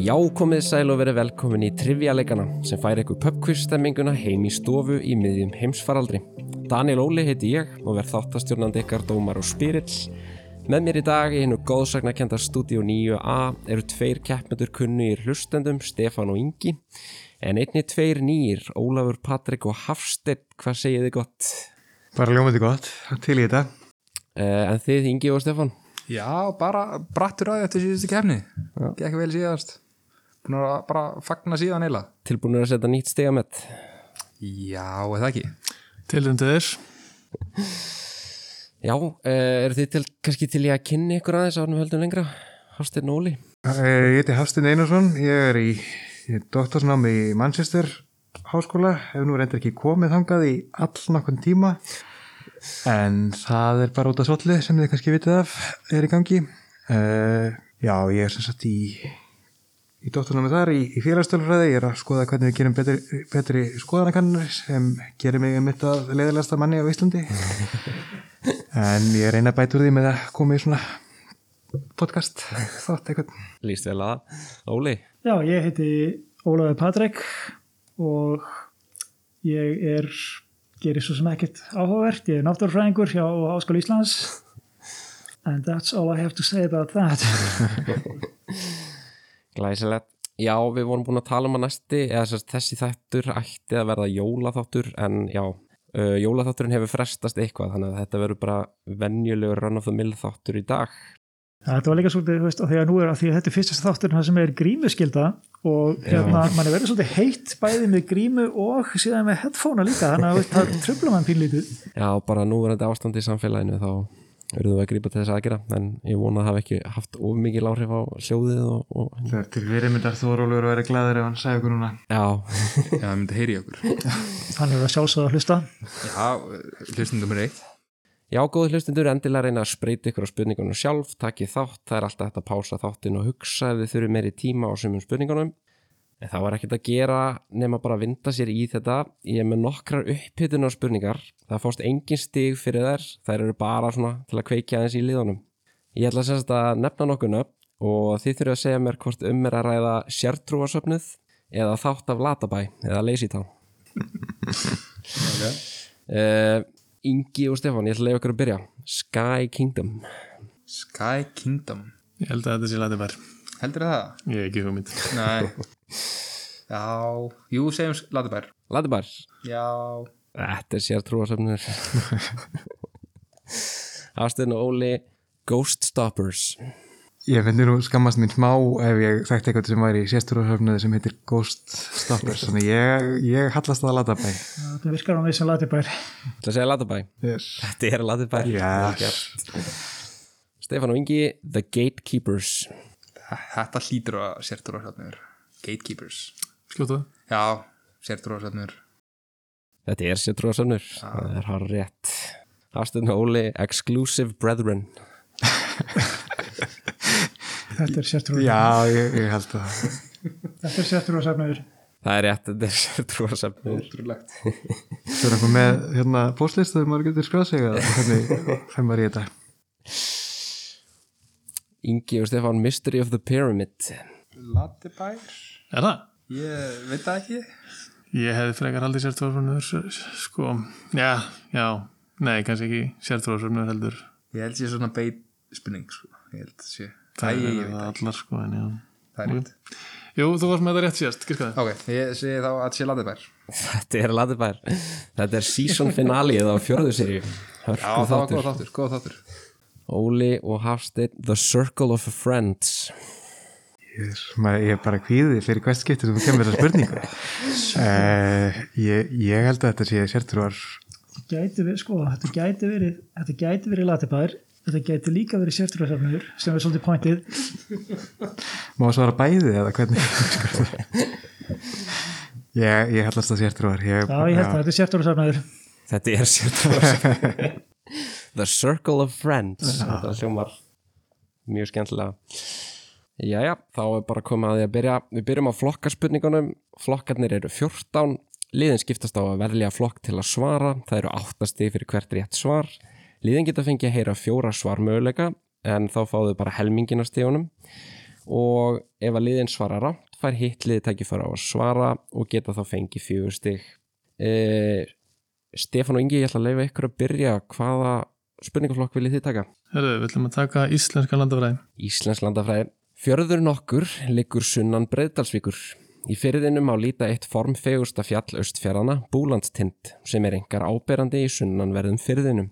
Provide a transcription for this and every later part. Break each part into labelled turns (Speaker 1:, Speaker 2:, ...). Speaker 1: Já, komið sæl og verið velkomin í Trivialegana sem fær ykkur pubquizstemminguna heim í stofu í miðjum heimsfaraldri. Daniel Óli heiti ég og verð þáttastjórnandi ykkar dómar og spirill. Með mér í dag í hennu góðsagnakenda Studio 9a eru tveir keppmyndur kunni í hlustendum, Stefan og Ingi. En einni tveir nýjir, Ólafur, Patrik og Hafstedt, hvað segið þið gott?
Speaker 2: Bara ljómaði gott, til í þetta.
Speaker 1: Uh, en þið, Ingi og Stefan?
Speaker 3: Já, bara brattur að þetta síðustu kefni Gekk vel síðast Búin að bara fagna síðan eila
Speaker 1: Tilbúinir að setja nýtt stegamett?
Speaker 3: Já, eða ekki
Speaker 4: Tilum til þess.
Speaker 1: Já, uh, eru þið til, kannski til í að kynni ykkur aðeins ánum höldum lengra? Hafsteinn og Óli?
Speaker 2: Eh, Ég heiti Hafstein Einarsson, ég er í ég er doktorsnámi í Manchester háskóla, hef nú reyndar ekki komið þangað í all nokkurn tíma en það er bara út af svolli sem þið kannski vitið af er í gangi uh, Já, ég er sem sagt í í doktorsnámi þar í, í félagsstölfræði, ég er að skoða hvernig við gerum betri, betri skoðanakannur sem gerir mig um mitt að leiðilegasta manni á Íslandi en ég reyna að bæta úr því með að koma í svona podcast þátt eitthvað
Speaker 1: Lýst vel að Óli?
Speaker 5: Já, ég heiti Ólafur Patrik og ég er, gerir svo sem ekkert áhugavert, ég er náttúrfræðingur hjá Háskóla Íslands and that's all I have to say about that.
Speaker 1: Glæsilegt. Já, við vorum búin að tala um að næsti, eða sérst, þessi þættur ætti að verða jólaþáttur, en já, uh, jólaþátturinn hefur frestast eitthvað, þannig að þetta verður bara venjulegur run of the mill þáttur í dag.
Speaker 5: Þetta var líka svolítið, þú veist, af því að nú er að því að þetta er fyrstast þátturinn það sem er grímuskylda og hérna, mann er verið svolítið heitt bæði með grímu og síðan með headphonea líka, þannig að þú veist, það tröfla mann pínlítið.
Speaker 1: Já, bara nú er þetta ástand í samfélaginu, þá verðum við að grípa til þess aðgera, en ég vona að það hafi ekki haft of mikið láhrif á hljóðið og, og
Speaker 2: Það er til fyrirmyndar Þórólfur að vera glæður ef hann sagði okkur núna
Speaker 1: já,
Speaker 3: Já, það myndi heyri í okkur
Speaker 5: Hann er að sjálfsögða að hlusta.
Speaker 3: Já, hlustundum er eitt
Speaker 1: Já, góði hlustundur, endilega reyna að spreyti ykkur á spurningunum sjálf, takkið þátt, það er alltaf hægt að pása þáttin og hugsa ef þið þurfið meiri tíma á sumum spurningunum. En það var ekkert að gera nema bara að vinda sér í þetta. Ég er með nokkrar upphittunar spurningar, það fást engin stig fyrir þær, þær eru bara svona til að kveikja aðeins í liðunum. Ég ætla semst að nefna nokkuð nöfn og þið þurfið að segja mér hvort um er að ræða sértrúarsöfnuð eða þátt af latabæ eða leysitán. Uh, Ingi og Stefán, ég ætla að leiða ykkur að byrja Sky Kingdom
Speaker 3: Sky Kingdom
Speaker 4: Ég held að þetta sé latibær.
Speaker 3: Heldur það?
Speaker 4: Ég er ekki hugmynd.
Speaker 3: Nei Já, jú, segjum Latibær
Speaker 1: Latibær
Speaker 3: Já
Speaker 1: Þetta er sér trúasöfnur Ástin og Óli Ghost Stoppers
Speaker 2: Ég finnir nú skammast mín smá ef ég sagt eitthvað sem var í sérstúrarhöfnuði sem heitir Ghost Stoppers þannig ég, ég hallast það að lata bæ
Speaker 5: Það virkar á mig sem latibær.
Speaker 1: Það segja Latibær
Speaker 2: yes.
Speaker 1: Þetta er Latibær
Speaker 2: Yes.
Speaker 1: Stefán og Ingi The Gatekeepers
Speaker 3: Þetta hlýtur að sértrúarsatnur Gatekeepers
Speaker 4: Skjóta.
Speaker 3: Já, sértrúarsatnur
Speaker 1: Þetta er sér trúasöfnur Það er hár rétt Ástin og Óli Exclusive Brethren
Speaker 5: Þetta er sértrúar.
Speaker 2: Já, ég, ég held að
Speaker 5: Þetta er sértrúar safnaður.
Speaker 1: Það er rétt, þetta er sér trúasöfnur
Speaker 3: Útrúlegt
Speaker 2: það er eitthvað með hérna, postlist þegar maður getur skráð sig að hvernig þeim var í þetta
Speaker 1: Ingi og Stefán Mystery of the Pyramid
Speaker 3: Latibær
Speaker 4: Er það?
Speaker 3: Ég veit það ekki
Speaker 4: Ég hefði frekar haldið sértrúarsöfnur, sko, já, já, nei, kannski ekki sértrúarsöfnur heldur.
Speaker 3: Ég held sér svona beit spurning sko. Ég held sér
Speaker 4: Það
Speaker 3: ég veit
Speaker 4: eru það
Speaker 3: það ekki.
Speaker 4: allar, sko, en já.
Speaker 3: Það er rétt
Speaker 4: Jú, þú varst með þetta rétt síðast, kirkaði.
Speaker 3: Ok, ég segi þá að sé Latibær
Speaker 1: Þetta er Ladibær Þetta er season finalið á fjörðu serju
Speaker 3: Já,
Speaker 1: Hörku
Speaker 3: það var góð
Speaker 1: þáttur
Speaker 3: þáttur, góð þáttur
Speaker 1: Óli og Hafsteinn The Circle of Friends
Speaker 2: Ég er, maður, ég er bara kvíðið fyrir hvert skipti sem þú kemur þessa spurningu uh, ég, ég held að þetta sé sértrúar
Speaker 5: gæti verið, sko, þetta gæti verið þetta gæti verið latibær þetta gæti líka verið sértrúarsafnur sem er svolítið pointið
Speaker 2: Má svara bæði eða hvernig ég, ég hallast að sértrúar ég,
Speaker 5: já ég held það, þetta er sértrúarsafnur
Speaker 1: Þetta er sértrúar The Circle of Friends Þetta hljómar mjög skemmtilega Jæja, þá er bara komið að því að byrja Við byrjum á flokkarspurningunum Flokkarnir eru 14 Liðin skiptast á að verðlega flokk til að svara Það eru 8 stig fyrir hvert rétt svar Liðin geta fengið að heyra fjóra svar möguleika En þá fáðu bara helmingin af stígunum og ef að liðin svara rátt fær hitt liði tækifæra á að svara og geta þá fengið fjögur stig eh, Stefán og Ingi ég ætla að leifa ykkur að byrja hvaða spurningaflokk viljið þið taka?
Speaker 4: Herðu, við ætlum að taka íslenska landafræði.
Speaker 1: Íslensk landafræði Fjörður nokkur liggur sunnan breyðdalsvíkur Í fyrirðinum á líta eitt formfegursta fjall austfjörðana, Búlandstind, sem er engar áberandi í sunnanverðum fyrðinum.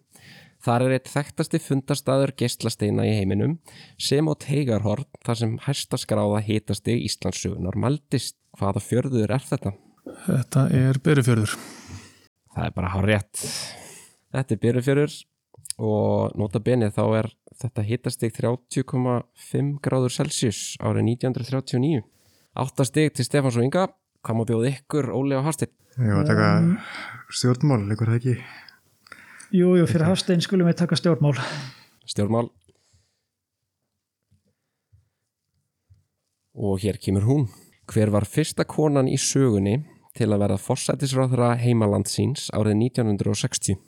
Speaker 1: Þar er eitt þekktasti fundastaður geislasteina í heiminum, sem á teigarhorn þar sem hæsta skráða hitastig Íslandsugunar mældist. Hvaða fjörður er þetta?
Speaker 4: Þetta er Berufjörður.
Speaker 1: Það er bara hár rétt. Þetta er Byrjufjörður og nota benið þá er þetta hittastig 30,5 gráður Celsius árið 1939. 8 stig til Stefáns og Inga. Hvað má bjóða ykkur, Óli og Harsteinn?
Speaker 2: Ég var að taka stjórnmál, leikur það ekki.
Speaker 5: Jú, jú, fyrir hafstein skulum við taka stjórnmál.
Speaker 1: Stjórnmál. Og hér kemur hún. Hver var fyrsta konan í sögunni til að vera forsætisráðra heimaland síns árið 1960?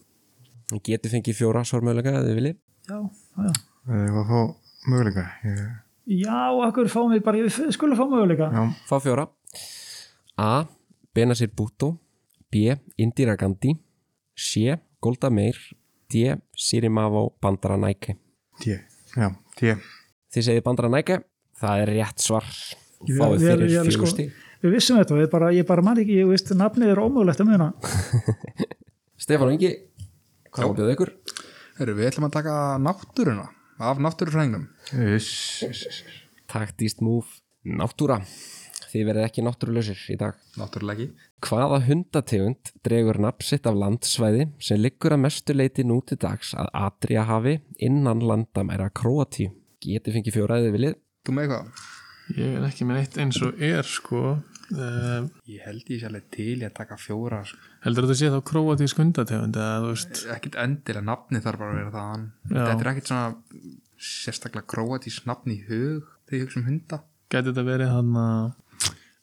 Speaker 1: Geti fengið fjóra svarmöðlega eða þið viljið.
Speaker 5: Já, já.
Speaker 2: Ég var að fá möguleika. Ég,
Speaker 5: Já, okkur fáum við bara, við skulum fá möguleika.
Speaker 2: já,
Speaker 1: Fá fjóra A. Benazir Bhutto B. Indira Gandhi C. Golda Meir D. Sirimavo Bandaranæke
Speaker 2: tí. Já, tí.
Speaker 1: Þið segið Bandaranæke Það er rétt svar
Speaker 5: Ég-
Speaker 1: Fáið
Speaker 5: ég-
Speaker 1: fyrir
Speaker 5: ég- ég-
Speaker 1: fjögur
Speaker 5: sko-
Speaker 1: stík
Speaker 5: Við vissum þetta, við bara, ég bara man ekki, ég veist, nafnið er ómögulegt að muna.
Speaker 1: Stefán og Ingi Hvað ábjöðu ykkur?
Speaker 3: Heru, við ætlum að taka náttúruna af náttúrufræðingnum
Speaker 1: Taktíst múf Náttúra Þið verðið ekki náttúrulausir í dag
Speaker 3: náttúrulega ekki
Speaker 1: Hvaða hundategund dregur nafnsitt af landsvæði sem liggur að mestu leiti nú til dags að Adria hafi innan landamæra Kroatíu? Geti fengið fjóraðið viljið?
Speaker 3: þú með eitthvað?
Speaker 4: Ég er ekki með neitt eins og er, sko. Uh,
Speaker 3: ég held ég sérlega til ég að taka fjóra sko.
Speaker 4: heldur þetta sé þá króatísk hundategund eða þú veist,
Speaker 3: ekkit endilega nafni þarf bara að vera þaðan
Speaker 4: Já.
Speaker 3: þetta er ekkit svona sérstaklega króatís nafni í hug þegar ég hugsa um hunda
Speaker 4: gæti þetta verið hann að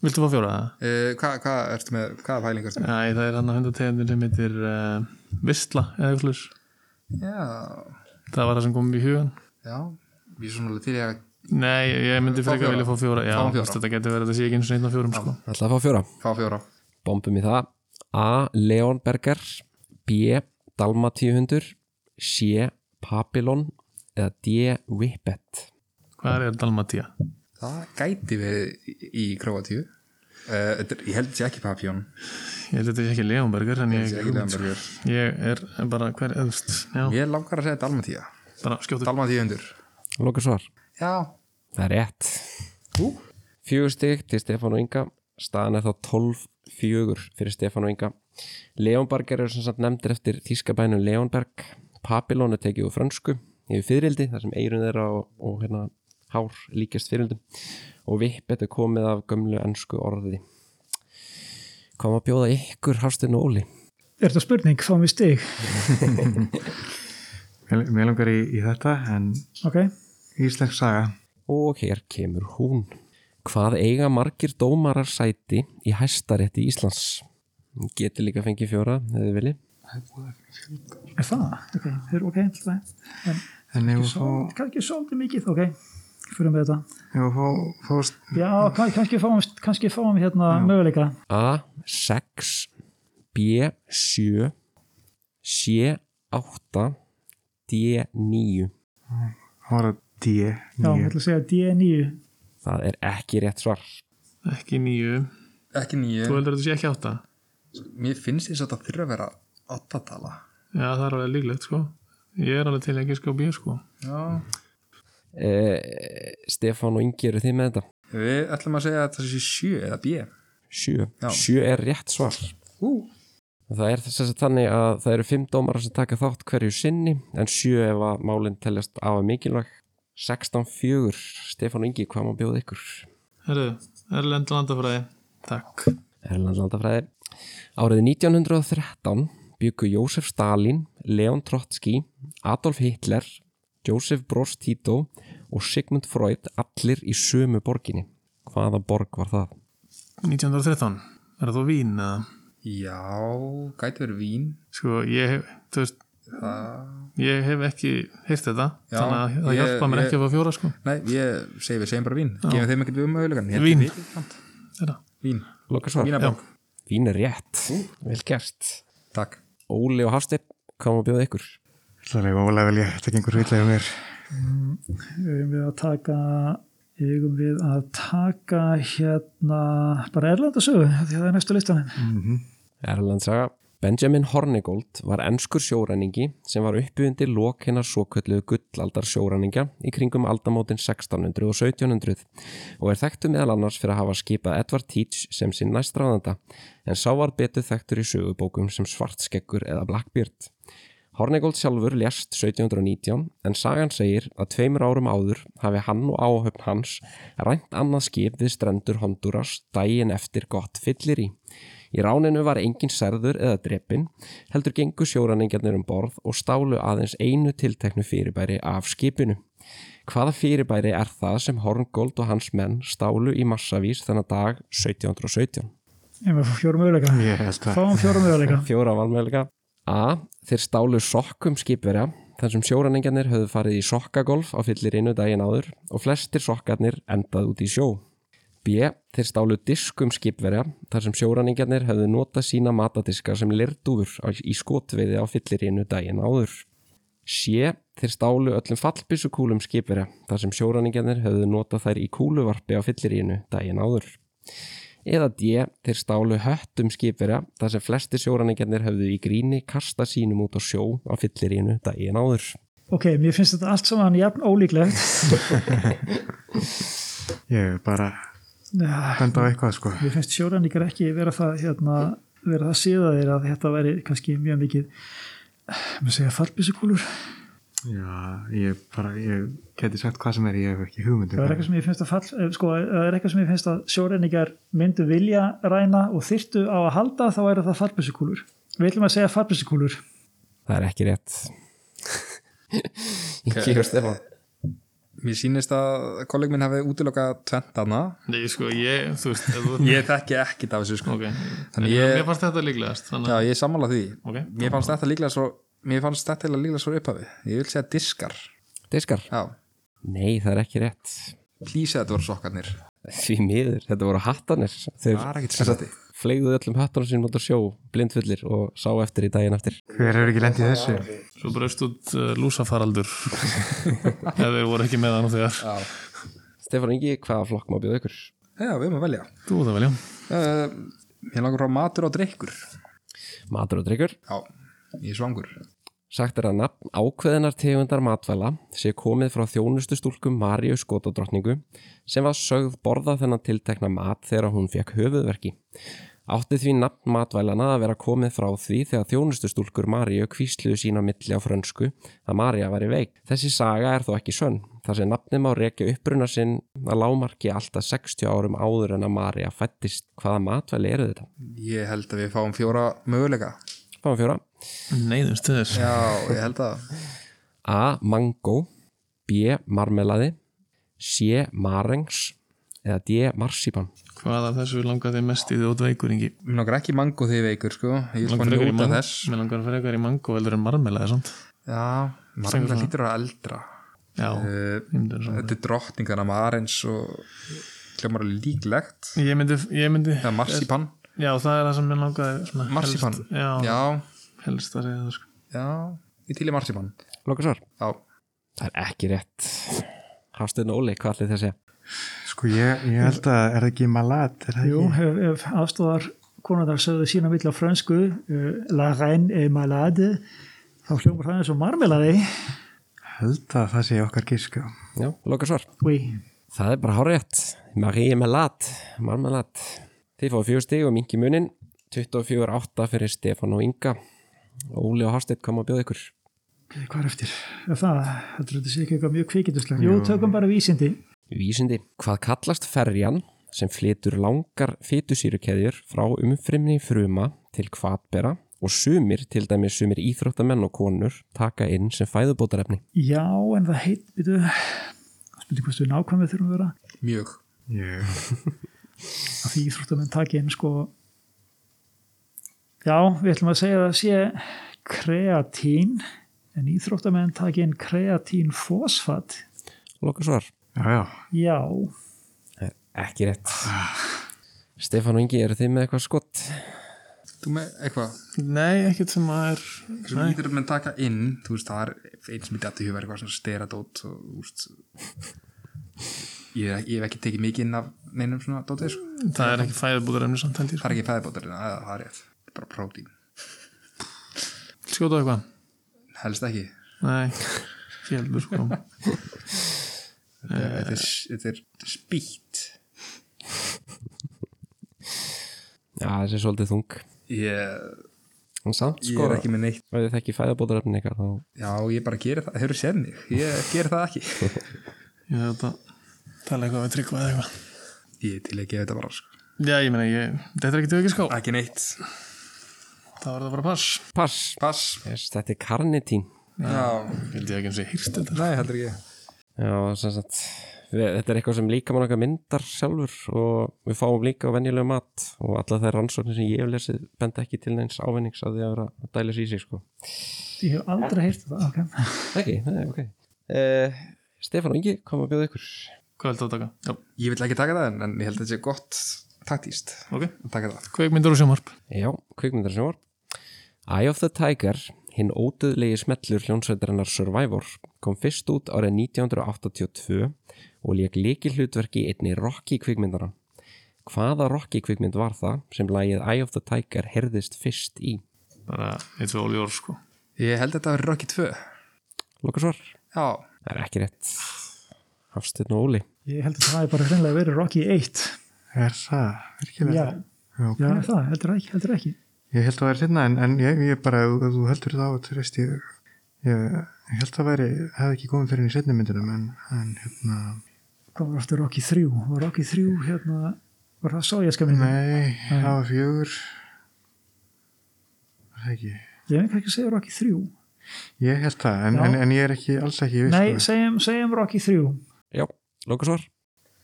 Speaker 4: Viltu fá fjóra það?
Speaker 3: uh, hvað hva, ertu með, hvaða pælingar ertu með?
Speaker 4: Æ, það er hann að hundategundin sem heitir uh, Vistla eða eitthvað slags.
Speaker 3: já,
Speaker 4: Það var það sem kom í hugan.
Speaker 3: já, ég er svona alveg til ég að
Speaker 4: Nei, ég myndi
Speaker 3: Fá
Speaker 4: frekar
Speaker 3: fjóra.
Speaker 4: vilja fá fjóra. Já,
Speaker 3: Fáum fjóra.
Speaker 4: veist, þetta getur verið að þetta sé ekki eins og einn á fjórum, sko.
Speaker 1: Það ætla að fá fjóra.
Speaker 3: fá fjóra
Speaker 1: Bombum í það. A. Leonberger B. Dalmatíuhundur C. Papillon eða D. Whippet
Speaker 4: Hvað er Dalmatía?
Speaker 3: það gæti verið í- í króatíu uh, ég held ég ekki papjón
Speaker 4: Ég held að þetta sé ekki Leonberger, en ég,
Speaker 3: ég, ekki Leonbergur.
Speaker 4: ég er bara hver, eða, þú veist, já,
Speaker 3: ég langar að segja Dalmatíða
Speaker 4: bara skjóttu.
Speaker 3: Dalmatíða undur
Speaker 1: Loka svar.
Speaker 3: já,
Speaker 1: Það er rétt.
Speaker 3: Ú.
Speaker 1: Fjögur stig til Stefán og Inga. Staðan er þá 12 fjögur fyrir Stefán og Inga. Leonberger eru sem sagt nefndir eftir þýskabænum Leonberg. Papillon er tekið úr frönsku yfir fyririldi, þar sem eirun þeirra og, og hérna, hár líkast fyririldum. Og vippet er komið af gömlu ennsku orði. Hvað maður bjóða ykkur Hafstinn og Óli?
Speaker 5: Er þetta spurning, fáum við stig?
Speaker 2: Mér mér langar í, í þetta, en
Speaker 5: Ok,
Speaker 2: íslensk saga.
Speaker 1: Og hér kemur hún. Hvað eiga margir dómarar sæti í hæstarétti Íslands? Geti líka fengið fjóra, ef þið vilji.
Speaker 5: er það? Ok, er, ok, alltaf það.
Speaker 2: En ég var að fá,
Speaker 5: Kannski svolítið mikið, ok, fyrir með þetta.
Speaker 2: ég var að fá, fá
Speaker 5: Já, kann- kannski fáum, kannski fáum við hérna möguleika.
Speaker 1: A. 6 B. 7 C. 8 D. 9
Speaker 2: Það var að D,
Speaker 5: Já, ég
Speaker 2: nýja.
Speaker 5: ætla að segja D9.
Speaker 1: Það er ekki rétt svar.
Speaker 4: Ekki nýju.
Speaker 3: ekki nýju
Speaker 4: Þú heldur að þetta sé ekki átta?
Speaker 3: mér finnst þess að það þurfa að vera áttatala
Speaker 4: Já, það er alveg líklegt, sko. Ég er alveg til ekki sko bíu, sko.
Speaker 3: já
Speaker 1: Eh, Stefán og Ingi eru þið með þetta.
Speaker 3: Við ætlum að segja að það sé sjö eða bjö.
Speaker 1: 7.
Speaker 3: Já.
Speaker 1: 7 er rétt svar.
Speaker 3: Ú.
Speaker 1: Það er þess að þannig að það eru 5 dómarar sem taka þátt hverju sinni en 7 ef að málinn teljast af mikilvæg. 16-4. Stefán og Ingi, hvað má bjóða ykkur?
Speaker 4: Herru, Erlend landafræði. Takk.
Speaker 1: Erlend landafræði. Árið 1913 byggu Jósef Stalin, Leon Trotsky, Adolf Hitler, Jósef Broz Tito og Sigmund Freud allir í sömu borginni. Hvaða borg var það?
Speaker 4: 1913. Er það Vín, eða?
Speaker 3: Já, gæti verið vín.
Speaker 4: Sko, ég, hef- þú veist, Ég hef ekki heyrt þetta
Speaker 3: Já,
Speaker 4: þannig að það
Speaker 3: ég-
Speaker 4: hjálpa mér
Speaker 3: ég-
Speaker 4: ekki að fá fjóra sko
Speaker 3: Nei, ég segi við segjum bara vín Gefum þeim ekkert um auðvölegan
Speaker 4: Vín. Þetta.
Speaker 3: Vín,
Speaker 1: Loka svar.
Speaker 3: vínabang
Speaker 1: Vín er rétt. Vel gert.
Speaker 3: Takk
Speaker 1: Óli og Hafsteinn, hvað má bjóða ykkur?
Speaker 2: Það er ólega vel ég, þetta gengur veitlega um mér.
Speaker 5: eigum við að taka eigum við að taka hérna bara Erlandasögu því að það er næstu listanum
Speaker 1: Erlandsaga Benjamin Hornigold var ennskur sjóræningi sem var uppuðundir lok hennar svokölluðu gullaldar sjóræningja í kringum aldamótin 1600 og 1700 og er þekktu meðal annars fyrir að hafa skipað Edward Teach sem sinn næstráðanda en sá var betur þekktur í sögubókum sem Svartskeggur eða Blackbeard. Hornigold sjálfur lést 1719 en sagan segir að tveimur árum áður hafi hann og áhöfn hans rænt annað skip við strendur Honduras daginn eftir gott fyllir í. Í ráninu var engin særður eða drepin, heldur gengu sjóræningjarnir um borð og stálu aðeins einu tilteknu fyrirbæri af skipinu. Hvaða fyrirbæri er það sem Hornigold og hans menn stálu í massavís þennan dag 1717?
Speaker 5: eigum við að fá fjórum möguleika
Speaker 2: Ég held að
Speaker 5: fáum fjórum möguleika
Speaker 1: fjóra valmöðleika A. Þeir stálu sokkum skipverja þar sem sjóræningjarnir höfðu farið í sokkagolf á fyllir innu daginn áður og flestir sokkarnir endað út í sjó B. Þeir stálu diskum skipverja þar sem sjóræningjarnir höfðu nota sína matadiska sem lirdúfur á- í skotveiði á fyllir innu daginn áður C. Þeir stálu öllum fallbissukúlum skipverja þar sem sjóræningjarnir höfðu nota þær í kúluvarpi á fyllir innu daginn áður eða D. Þeir stálu höttum skipverja þar sem flesti sjóræningjarnir höfðu í gríni kasta sínum út á sjó á fyllirínu daginn áður.
Speaker 5: ok, mér finnst þetta allt saman jafn ólíklegt
Speaker 2: ég er bara
Speaker 5: Já,
Speaker 2: benda á eitthvað sko.
Speaker 5: mér finnst sjóræningar ekki vera það hérna, vera það síða þeir að þetta væri kannski mjög mikið eh, maður segja fallbissukúlur
Speaker 2: Já, ég bara, ég geti sagt hvað sem er, ég hef ekki um hugmyndum.
Speaker 5: það er eitthvað sem ég finnst að fall eh, sko, ef það er eitthvað sem ég finnst að sjóræningar myndu vilja ræna og þyrtu á að halda þá væri það fallbissukúlur við ætlum að segja fallbissukúlur
Speaker 1: Það er ekki rétt. Ingi og Stefán.
Speaker 3: Mér sýnist að kolleg minn hafi útilokað tvent þarna
Speaker 4: Nei, sko, ég, þú veist ef þú-
Speaker 3: Ég þekki ekkit af þessu sko
Speaker 4: Mhm. Ok,
Speaker 3: Þannig
Speaker 4: þannig
Speaker 3: ég-
Speaker 4: ég Mér fannst þetta líklegast þannig
Speaker 3: Já,
Speaker 4: að
Speaker 3: ég er sammála því
Speaker 4: Ok.
Speaker 3: Mér fannst þetta líklega svo Mér fannst þetta eiginlega líklega svo upphafi Ég vil segja diskar
Speaker 1: Diskar.
Speaker 3: Já,
Speaker 1: Nei, það er ekki rétt.
Speaker 3: plísa þetta voru sokkarnir
Speaker 1: Því miður, þetta voru hattanir.
Speaker 3: Það
Speaker 1: Þeir
Speaker 3: er ekkit sérstætti
Speaker 1: fleigðuðu öllum hattanum sínum út á sjó, blindfullir og sá eftir í daginn eftir.
Speaker 2: Hver hefur ekki lendið þessu?
Speaker 4: svo braust út uh, lúsafaraldur eða þeir voru ekki með það nú þegar
Speaker 3: Já,
Speaker 1: Stefán Ingi, hvaða flokk má bjóða ykkur?
Speaker 3: Já, við erum að velja
Speaker 4: Þú það velja
Speaker 3: uh, Mér langar frá matur og drikkur Já,
Speaker 1: Matur og drikkur.
Speaker 3: ég er svangur
Speaker 1: Sagt er að nafn ákveðinar tegundar matvæla sé komið frá þjónustu stúlkum Maríu skotadrottningu sem var sögð borða þennan tiltekna mat þegar hún fekk höfuðverki. Átti því nafn matvælana að vera komið frá því þegar þjónustu stúlkur Maríu kvísluðu sína milli á frönsku að María væri veik. Þessi saga er þó ekki sönn þar sem nafnið má rekja uppruna sinn að lámarki alltaf 60 árum áður en að María fættist. Hvaða matvæli eru þetta?
Speaker 3: Ég held að við fáum fjóra möguleika
Speaker 1: Fáum fjóra.
Speaker 4: Neiðumst til þess
Speaker 3: Já, ég held að
Speaker 1: A. Mango B. Marmelaði C. Marengs eða D. Marsipan
Speaker 4: Hvað af þessu langar þið mest í því út veikuringi?
Speaker 3: Mér langar ekki mango því veikur sko Ég vil sko
Speaker 4: Langar frekar í
Speaker 3: njóta
Speaker 4: mango-
Speaker 3: þess
Speaker 4: Mér langar frekar í mango heldur en marmelaði samt
Speaker 3: Já, margulega lítur að vera eldra
Speaker 4: Já,
Speaker 3: uh,
Speaker 4: ég myndi svona.
Speaker 3: Þetta er drottning þannig að maður eins og hljómar líklegt
Speaker 4: ég myndi, ég myndi
Speaker 3: eða marsipan
Speaker 4: Já, það er það sem mér langaði svona
Speaker 3: Marsipan.
Speaker 4: helst- Já,
Speaker 3: Já,
Speaker 4: helst að segja það sko
Speaker 3: já, ég til í marsipan
Speaker 1: Lókasvar
Speaker 3: Já,
Speaker 1: Það er ekki rétt Hafsteinn og Óli, hvað allir þessi?
Speaker 2: Sko, ég, ég held að, er það ekki malat? Er það
Speaker 5: Jú,
Speaker 2: ekki?
Speaker 5: ef, ef afstofar konundar sögðu sína mitt á fransku uh, La reine est malade þá hljómar það eins og marmelaði
Speaker 2: Held að það sé okkar gísk, já.
Speaker 1: Já, lókasvar
Speaker 5: Úi,
Speaker 1: Það er bara hárétt Marie Melat Marmelat Þið fáið fjögur stig og mingi munin 24-8 fyrir Stefán og Inga Óli og Hafsteinn koma að bjóða ykkur
Speaker 5: hvað er eftir? Ef það, heldur þetta sé ekki eitthvað mjög kvikinduslega Jú, tökum bara vísindi
Speaker 1: Vísindi Hvað kallast ferjan sem flytur langar fytusýrukeðjur frá umfrimni fruma til kvatbera og sumir, til dæmis sumir íþróttamenn og konur, taka inn sem fæðubótarefni.
Speaker 5: Já, en það heit, býtu spyrir hvað stuð nákvæmið þurfum að vera
Speaker 3: mjög
Speaker 2: Ég,
Speaker 5: að því íþróttamenn taki inn sko Já, við ætlum að segja að sé kreatín en íþróttamenn taki inn kreatín fósfat
Speaker 1: Loka svar
Speaker 2: Já, já.
Speaker 5: já,
Speaker 1: Ekki rétt
Speaker 3: Ah.
Speaker 1: Stefán og Ingi, eru þið með eitthvað skott?
Speaker 3: Þú með eitthvað,
Speaker 4: Nei, ekkert sem að er
Speaker 3: sem lítur með taka inn þú veist, það er eins sem ég dætti hufa eitthvað svona steradót og, þú veist, ég, ég hef ekki tekið mikið inn af neinum svona dótið sko.
Speaker 4: Það er ekki fæðubúður emni samt sko. hendir
Speaker 3: það er ekki fæðibótarinn, það það er rétt Það er bara prótín,
Speaker 4: Skjóta eitthvað?
Speaker 3: helst ekki
Speaker 4: Nei, fjöldur sko
Speaker 3: þetta er, þetta er spýtt
Speaker 1: Já, þessi er svolítið þung
Speaker 3: ég,
Speaker 1: En samt
Speaker 3: ég
Speaker 1: sko,
Speaker 3: er ekki með neitt
Speaker 1: ef þið þekki fæðabótarefni eitthvað þá
Speaker 3: já, ég bara gerir það, hefur séð mig ég gerir það ekki,
Speaker 4: Ég þarf að tala eitthvað við tryggvað eða eitthvað
Speaker 3: ég er til að gefa þetta bara sko.
Speaker 4: Já, ég meina, ég, þetta er ekki tökir ská
Speaker 3: ekki neitt,
Speaker 4: Það var það bara pass
Speaker 1: Pass
Speaker 3: pass
Speaker 1: yes, Þetta er karnitín
Speaker 3: já,
Speaker 4: Vildi ég ekki eins og hýrst þetta
Speaker 3: nei, heldur ekki
Speaker 1: Já, sem sagt við, Þetta er eitthvað sem líkamann okkar myndar sjálfur og við fáum líka á venjulegu mat og alla þær rannsóknir sem ég hef lesið benda ekki til neins ávinnings að því að vera að dæla sér í sig sko
Speaker 5: ég hef aldrei heyrt það okay.
Speaker 1: Ekki, nei, ok uh, Stefán og Ingi, kom að bjóða ykkur
Speaker 4: Hvað viltu að taka? Já,
Speaker 3: ég vil ekki taka það, en, en ég held að þetta sé gott taktíst
Speaker 4: ok
Speaker 3: að taka það
Speaker 4: Kveikmyndur og sjómarp
Speaker 1: Já, kvikmyndar sem var Eye of the Tiger, hinn ódöðlegi smellur hljónsveitarinnar Survivor kom fyrst út árið 1982 og lék líkilhlutverki einni Rocky kvikmyndara Hvaða Rocky kvikmynd var það sem lagið Eye of the Tiger herðist fyrst í?
Speaker 4: Bara, it's all yours sko
Speaker 3: ég held að þetta verið Rocky 2
Speaker 1: Lokasvar?
Speaker 3: já,
Speaker 1: Það er ekki rétt Hafsteinn og Óli
Speaker 5: ég held að það er bara hreinlega verið Rocky 1
Speaker 2: Er það virkilega?
Speaker 5: já,
Speaker 2: ok.
Speaker 5: já það, heldur ekki, heldur ekki.
Speaker 2: Ég held að það væri sinna en, en ég, ég bara, ef ef þú heldur það á að treyst ég, ég, ég held að væri, hefði ekki komið fyrir henni í setni myndunum en, en hérna,
Speaker 5: komur aftur Rocky 3 og Rocky 3 hérna, var það sovjaska minn
Speaker 2: nei, það var fjögur, var það ekki,
Speaker 5: ég veit ekki að segja Rocky 3
Speaker 2: ég held það en,
Speaker 5: Já.
Speaker 2: en, en ég er ekki, alls ekki viss
Speaker 5: nei,
Speaker 2: sko.
Speaker 5: segjum, segjum Rocky 3
Speaker 1: Já, lokasvar?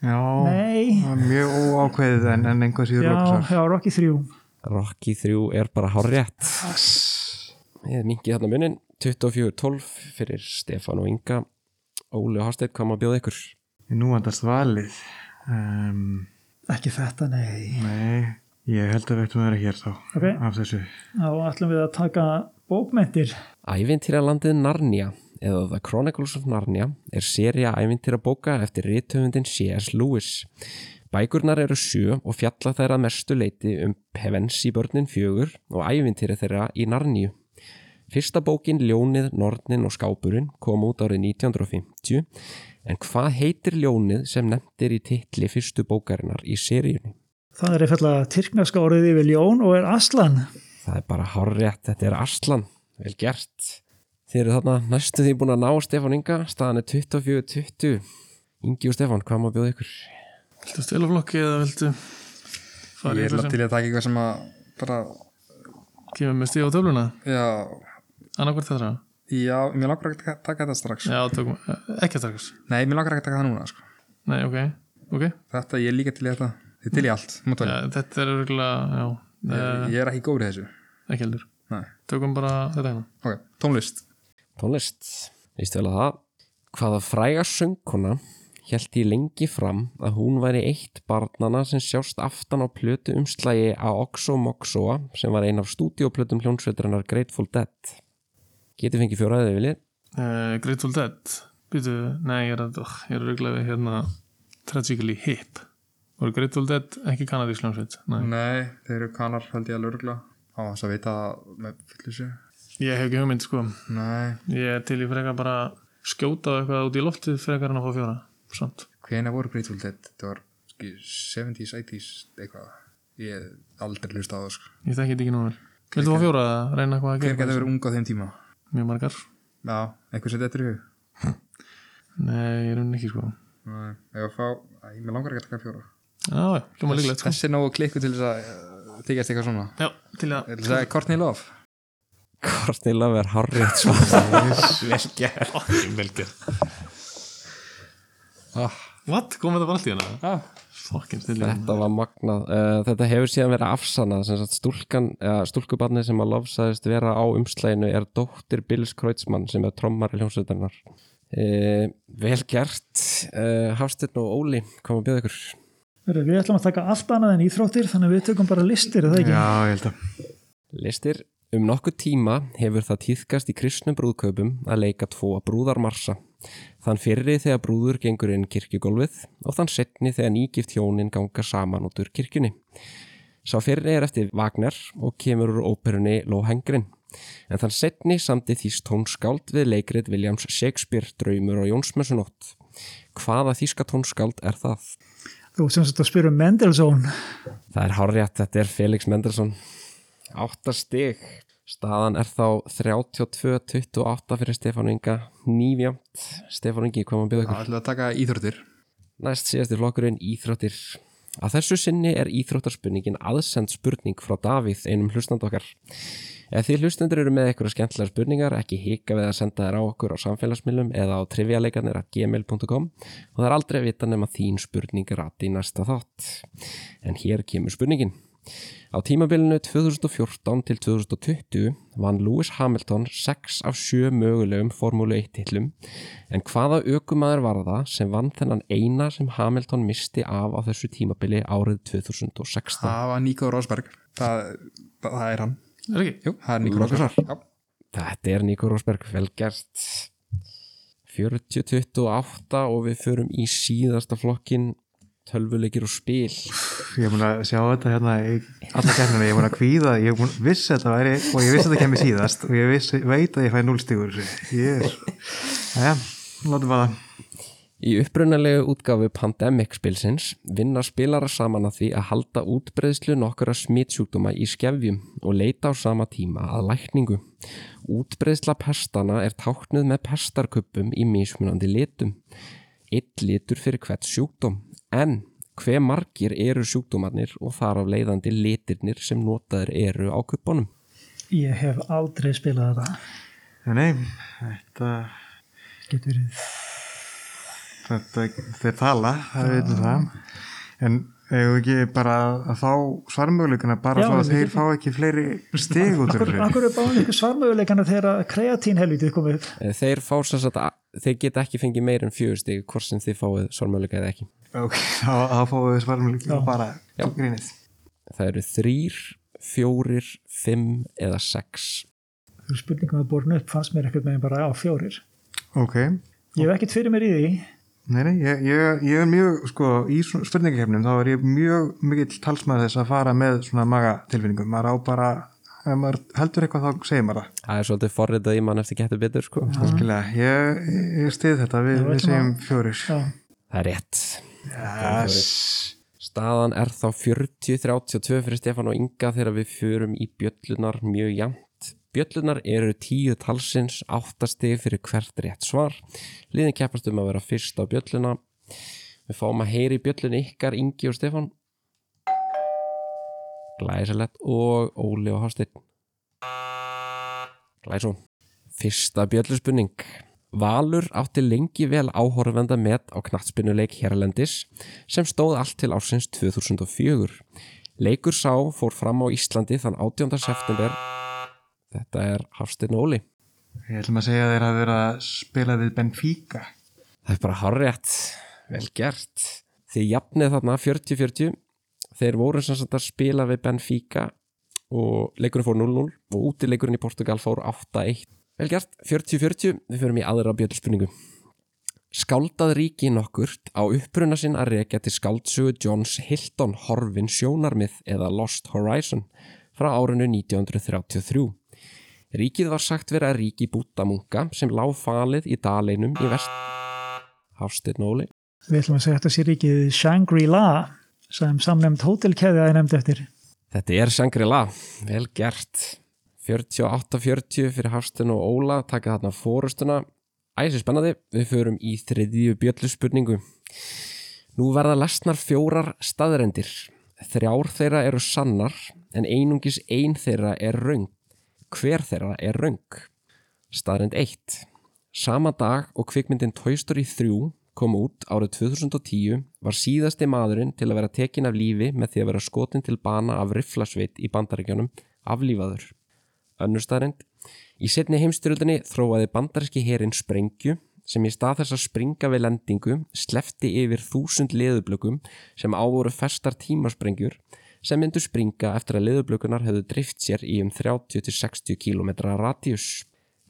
Speaker 2: Já,
Speaker 5: Nei.
Speaker 2: það var mjög óákveðið en, en einhvað síður
Speaker 5: já,
Speaker 2: lóksar.
Speaker 5: já, Rocky 3
Speaker 1: Rocky 3 er bara hár rétt Ég mingi þarna munin 24-12 fyrir Stefán og Inga Óli og Hafsteinn kom að bjóða ykkur
Speaker 2: Nú andast valið. Um,
Speaker 5: ekki þetta, nei
Speaker 2: nei, ég held að við ættum að vera hér þá
Speaker 5: Ok.
Speaker 2: af þessu.
Speaker 5: þá ætlum við að taka bókmentir
Speaker 1: Ævintýralandið Narnia eða The Chronicles of Narnia er seria ævintýrabóka eftir rithöfundin C.S. Lewis. Bækurnar eru sjö og fjalla þeirra mestu leiti um Pevensi börnin fjögur og ævintýri þeirra í Narníu. Fyrsta bókin Ljónið, Nornin og Skápurinn kom út árið 1950 en hvað heitir Ljónið sem nefndir í titli fyrstu bókarinnar í seríunni?
Speaker 5: það er einfallega tyrkneska orðið yfir ljón og er aslan
Speaker 1: Það er bara hárrétt, þetta er Arslan, vel gert. Þið eru þarna næstu því búin að ná Stefán Inga, staðan er 24-20. Ingi og Stefán, hvað má bjóða ykkur?
Speaker 4: Viltu stela flokki eða viltu fara í
Speaker 3: ég
Speaker 4: eitthvað
Speaker 3: er
Speaker 4: sem
Speaker 3: til að taka eitthvað sem að bara,
Speaker 4: kemur með stíð á töfluna?
Speaker 3: já
Speaker 4: Annarkvort þetta?
Speaker 3: já, mér langar ekki að taka- taka þetta strax
Speaker 4: Já, tökum, eh, ekki að takast
Speaker 3: nei, mér langar ekki að taka það núna sko.
Speaker 4: Nei, ok, ok ja,
Speaker 3: þetta, ég er líka til í þetta ég er til í allt, mátt velja
Speaker 4: Þetta er örgulega, já,
Speaker 3: ég,
Speaker 4: eh,
Speaker 3: ég er ekki góður í þessu
Speaker 4: ekki heldur
Speaker 3: nei.
Speaker 4: Tökum bara þetta hérna
Speaker 3: ok, tónlist
Speaker 1: Tónlist, vístu vel að það. Hvaða fræga söngkona held ég lengi fram að hún væri eitt barnana sem sjást aftan á plötu umslægi að Oxo Moxoa sem var ein af stúdíoplötum hljónsveiturinnar Grateful Dead. Getið fengið fjóraðið viljið?
Speaker 4: uh, Grateful Dead Býtu, nei, ég er að ugh, Ég er örgulega við hérna Tragically Hip Voru Grateful Dead ekki kanadísk hljómsveit? Nei.
Speaker 3: nei, þeir eru kanar, held ég að lörgla á þess að vita það með fullisu
Speaker 4: Ég hef ekki hugmynd, sko
Speaker 3: nei,
Speaker 4: Ég er til í frekar bara skjóta á eitthvað út í loftið frekar en að fá fjóra Samt
Speaker 3: hvena voru Grateful Dead þetta var kannski 70s, 80s eitthvað, ég hef aldrei hlusta á það sko.
Speaker 4: Ég þekki þetta ekki núna Viltu fá fjóra að reyna eitthvað að
Speaker 3: hver
Speaker 4: gera
Speaker 3: getur
Speaker 4: eitthvað?
Speaker 3: verið ung á þeim tíma
Speaker 4: Mjög margar
Speaker 3: já, eitthvað setið eftir í hug
Speaker 4: Nei, ég er unni ekki sko
Speaker 3: nei, ef að fá, æ, mér langar ekki að taka fjóra
Speaker 4: Já, já, hljóma líklegt sko
Speaker 3: þessi er nógu klikku til þess að uh, þykjast eitthvað svona
Speaker 4: Já, til að
Speaker 3: til þess að Courtney Love
Speaker 1: Courtney Love er hárrétt svo.
Speaker 4: What? Komum þetta bara allt í hana?
Speaker 3: ah.
Speaker 4: Fucking stilling
Speaker 1: Þetta var magnað. Uh, þetta hefur síðan verið afsannað sem sagt stúlkan, eða stúlkubarnið sem að lofsaðist vera á umslæginu er dóttir Bills Kreutzmann sem er trommar í hljómsveitarnar. Uh, vel gert, uh, Hafsteinn og Óli, kom að bjóða ykkur.
Speaker 5: Heyrðu, Við ætlum að taka allt annað en íþróttir þannig að við tökum bara listir, er það ekki?
Speaker 2: Já, ég held að
Speaker 1: Listir, um nokkuð tíma hefur það týðkast í kristnum brúðkaupum að leika tvo brúðarmarsa. Þann fyrri þegar brúður gengur inn kirkjugólfið og þann setni þegar nýgift hjónin ganga saman út úr kirkjunni. Sá fyrri er eftir Wagner og kemur úr óperunni Lóhengrin. En þann setni samti þýst tónskáld við leikrit Williams Shakespeare Draumur og Jónsmessunótt. Hvaða þýska tónskáld er það?
Speaker 5: Þú ert sem sagt að spyrja um Mendelssohn
Speaker 1: Það er hárjætt, þetta er Felix Mendelssohn. Átta stig. Staðan er þá 32-28 fyrir Stefán Inga. Nýfjamt. Stefán Ingi, hvað maður byrða
Speaker 3: Það
Speaker 1: ykkur?
Speaker 3: ætlaði að taka íþróttir
Speaker 1: Næst síðastir flokkurinn Íþróttir. Að þessu sinni er íþróttarspurningin aðsend spurning frá Davíð einum hlustand okkar. Ef þið hlustendur eru með eitthvað skemmtilegar spurningar, ekki hika við að senda þær á okkur á samfélagsmiðlum eða á trivialeganir að gmail.com og það er aldrei að vita nema þín spurning rati í næsta þátt. En hér kemur spurningin. Á tímabilinu 2014 til 2020 vann Lewis Hamilton 6 af 7 mögulegum Formúlu 1 tillum en hvaða ökumæður var það sem vann þennan eina sem Hamilton misti af á þessu tímabili árið 2016?
Speaker 3: Það var Nico Rosberg Það, það, það er hann
Speaker 4: Er ekki?
Speaker 3: Jú, það er Nico Rosberg Já.
Speaker 1: Þetta er Nico Rosberg, vel gert. 40-28 og við förum í síðasta flokkin tölvuleikir og spil.
Speaker 2: Ég er búin að sjá þetta hérna í alla kemina, ég er búin að kvíða, ég er búin að vissi þetta væri og ég vissi þetta kemur síðast og ég vissi, veit að ég fæ núlstígur. Ég er, já, látum bara,
Speaker 1: Í upprunalegu útgafu Pandemic spilsins vinna spilarar saman að því að halda útbreiðslu nokkura smitsjúkdóma í skefjum og leita á sama tíma að lækningu. Útbreiðsla pestana er táknuð með pestarkuppum í mismunandi litum. Eitt litur fyrir hvert sjúkdóm. En hve margir eru sjúkdómarnir og þar af leiðandi litirnir sem notaðir eru á kuppunum?
Speaker 5: Ég hef aldrei spilað þetta
Speaker 2: en nei, þetta,
Speaker 5: Getur verið
Speaker 2: þetta, þeir tala, það er veitum það. En eigum við ekki bara að fá svarmöguleikuna bara
Speaker 5: Já,
Speaker 2: svo að
Speaker 5: við
Speaker 2: þeir fá ekki fleiri stig út úr
Speaker 5: Akkur,
Speaker 2: þessu.
Speaker 5: akkur er báðin ykkur svarmöguleikana þegar kreatín helvítið komið upp
Speaker 1: Eh, Þeir, fá sem sagt að- þeir geta ekki fengið meir en fjögustig hvort sem þið fáið svarmöðleika eða ekki.
Speaker 2: Ok, þá, þá fáum við svarmöguleikuna bara,
Speaker 1: Já.
Speaker 2: til grínið.
Speaker 1: það eru þrýr, fjórir, fimm eða sex.
Speaker 5: Þú spurningum að borna upp fannst mér ekkert meginn bara á fjórir
Speaker 2: Ok,
Speaker 5: Ég hef ekkert fyrir mér í því
Speaker 2: Nei, nei, ég, ég, ég er mjög, sko, í svona spurningakefnum þá er ég mjög mikill talsmaður þess að fara með svona magatilfinningum. Maður á bara, ef maður heldur eitthvað þá segir maður það.
Speaker 1: Það er svolítið forritað í mann eftir getur betur sko.
Speaker 2: Algjörlega, ég, ég stið þetta, við, við
Speaker 5: Já, við ætlum
Speaker 2: segjum fjórir.
Speaker 5: Já,
Speaker 1: Það er rétt.
Speaker 2: Yes.
Speaker 1: Staðan er þá 40-32 fyrir Stefán og Inga þegar við fyrum í bjöllunar mjög jæmt. Bjöllunar eru tíu talsins, áttastig fyrir hvert rétt svar. Liðin keppast um að vera fyrst á bjölluna. Við fáum að heyri bjöllun ykkar Ingi og Stefán. Glæsilegt og Óli og Hásteinn. Glæsum. Fyrsta bjölluspunning. Valur átti lengi vel áhorfenda með á knattspinnuleik Hérlendis sem stóð allt til ársins 2004. Leikur sá fór fram á Íslandi þann 18. september. Þetta er Hafstein Óli.
Speaker 2: Ég ætlum að segja að þeir hafa verið að spila við Benfica.
Speaker 1: Það er bara harrétt. Vel gert. Þið jafnið þarna 40-40. Þeir voru sem sagt að spila við Benfica og leikurinn fór 0-0 og útileikurinn í Portugal fór 8-1. Vel gert. 40-40. Við förum í aðra bjöldspurningu. Skáldað ríki nokkurt á uppruna sinn að rekja til skáldsögu Johns Hilton Horfin sjónarmið eða Lost Horizon frá árinu 1933. Ríkið var sagt vera ríki búttamunga sem lág falið í daleinum í vest Hafsteinn Óli
Speaker 5: við ætlum að segja þetta sé ríkið Shangri-La sem samnefnd hótelkeðja er nefnd eftir
Speaker 1: Þetta er Shangri-La, vel gert 48-40 fyrir Hafsteinn og Óla taka þarna fórustuna Æsi spennandi, við förum í þriðju bjölluspurningu Nú verða lesnar fjórar staðrendir Þrjár þeirra eru sannar en einungis ein þeirra er röng Hver þeirra er röng? Staðrend 1 Sama dag og kvikmyndin Toy Story 3 kom út árið 2010 var síðasti maðurinn til að vera tekin af lífi með því að vera skotin til bana af rifflasveit í bandaríkjunum aflífaður. Önnustarind, í setni heimstyrjöldinni þróaði bandaríski herin sprengju sem í stað þess að springa við lendingu slefti yfir þúsund leðublökum sem ávoru festar tímasprengjur sem myndu springa eftir að leðublökunar hefðu drift sér í um 30-60 km radius.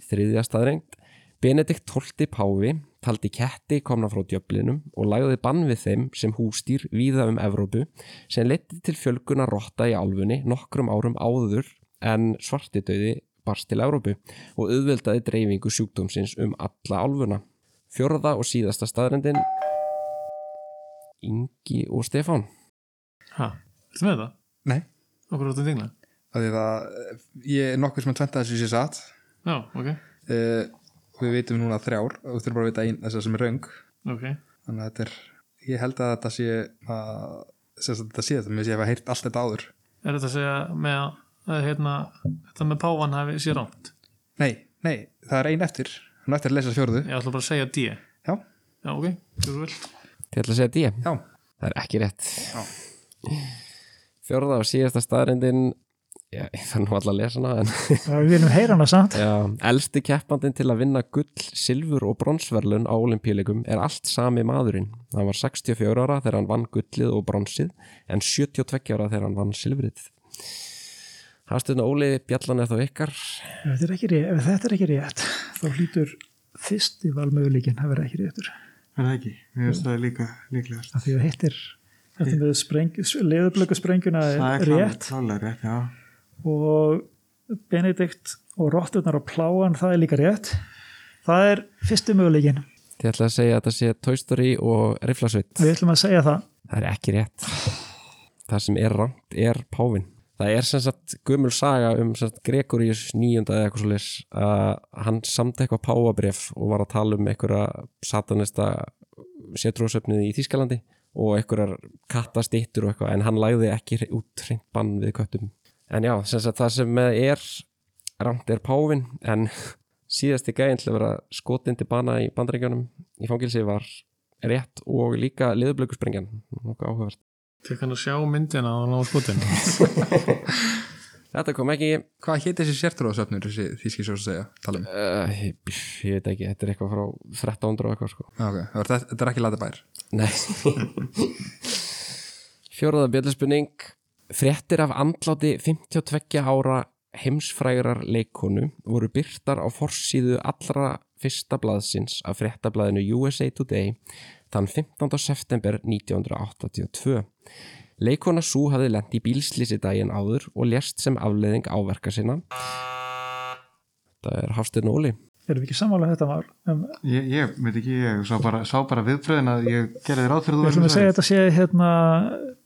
Speaker 1: Þriðja staðrengt, Benedikt XII Páfi taldi ketti komna frá djöflinum og lagði bann við þeim sem hústýr víða um Evrópu sem leti til fjölguna rotta í álfunni nokkrum árum áður en svartidauði barst til Evrópu og auðveldaði dreifingu sjúkdómsins um alla álfuna. Fjórða og síðasta staðrendin Ingi og Stefán
Speaker 4: Hæ, ertu með það?
Speaker 3: Nei,
Speaker 4: Okkur áttu dingla?
Speaker 3: það er að eh, ég er nokkuð sem að tventa þessu sér satt
Speaker 4: Já, ok,
Speaker 3: uh, Við vitum núna þrjár og við þurfum bara að vita ein þessar sem er röng
Speaker 4: ok
Speaker 3: Þannig að þetta er, ég held að þetta sé að, sem sagt þetta sé þetta, mér sé að ég hef heyrt allt þetta áður
Speaker 4: Er þetta að segja með að, að hérna, þetta með pávan hafi sér rámt?
Speaker 3: Nei, nei, það er ein eftir Hún er eftir að lesa fjörðu
Speaker 4: Ég ætla bara að segja D.
Speaker 3: Já,
Speaker 4: Já, ok, gjörðu vel.
Speaker 1: Þið ætla að segja því?
Speaker 3: já,
Speaker 1: Það er ekki rétt Fjórða og síðasta staðrendin Já, ég þarf nú alla að lesa hana en
Speaker 5: Við viljum heyra hana samt.
Speaker 1: Já, elsti keppandinn til að vinna gull, silfur og bronsverlun á olimpíuleikum er allt sami maðurinn. Hann var 64 ára þegar hann vann gullið og bronsið en 72 ára þegar hann vann silfrið. Hastun Óli, bjallan er þá ykkar.
Speaker 5: Ef þetta er ekki rétt, ef þetta er ekki rétt þá hlýtur fyrsti valmöguleikin að vera ekki réttur.
Speaker 2: Er það ekki? Mér finnst það líka líklegast.
Speaker 5: Af því að hittir þetta með spreng, leðublöku sprengjuna
Speaker 2: Það
Speaker 5: er
Speaker 2: er klár-
Speaker 5: rétt
Speaker 2: klárlega rétt, já.
Speaker 5: og Benedikt og Rotturnar og Pláan, það er líka rétt. Það er fyrsti möguleikin.
Speaker 1: Þið ætla að segja að þetta sé Toy Story og Rifflasveit.
Speaker 5: Við ætlum að segja það.
Speaker 1: Það er ekki rétt. Það sem er rangt er Pávin. Það er sem sagt gömul saga um sem sagt, Gregorius nýjunda eða eitthvað svo leys að hann samt eitthvað páfabref og var að tala um einhverja satanista setrósöfnið í Þískalandi og einhverjar kattastýttur og eitthvað en hann lagði ekki hre- út hreint bann við köttum. En já, sem sagt það sem er rangt er Pávin en síðasti gæðin til að vera skotin til bana í bandaríkjunum í fangilsi var rétt og líka liðublökusprengjan, nokkuð áhugavert
Speaker 4: Tek hann að sjá myndina og ná skotinu.
Speaker 1: Þetta kom ekki,
Speaker 3: hvað hétt þessi sértrúðasöfnur þessi þýski svo að segja, tala um
Speaker 1: uh, ég, ég veit ekki, þetta er eitthvað frá 1300 og eitthvað sko.
Speaker 3: Já, okay. Ah, Það var- þetta- Þetta er ekki latabær
Speaker 1: Nei. Fjóraða bjöldspurning, fréttir af andláti 52 ára heimsfrægrar leikonu voru byrtar á forsíðu allra fyrsta blaðsins af fréttablaðinu USA Today þann 15. september 1982. Leikona Sú hafði lent í bílslýsi daginn áður og lést sem afleðing áverka sinna. Það er Hafstirn Óli.
Speaker 5: Erum við ekki sammála um þetta mál? Um,
Speaker 2: Ég, ég veit ekki, ég sá bara, sá bara viðbröðin að ég gerði þér áþyrðu
Speaker 5: Við ætlum að segja að þetta sé hérna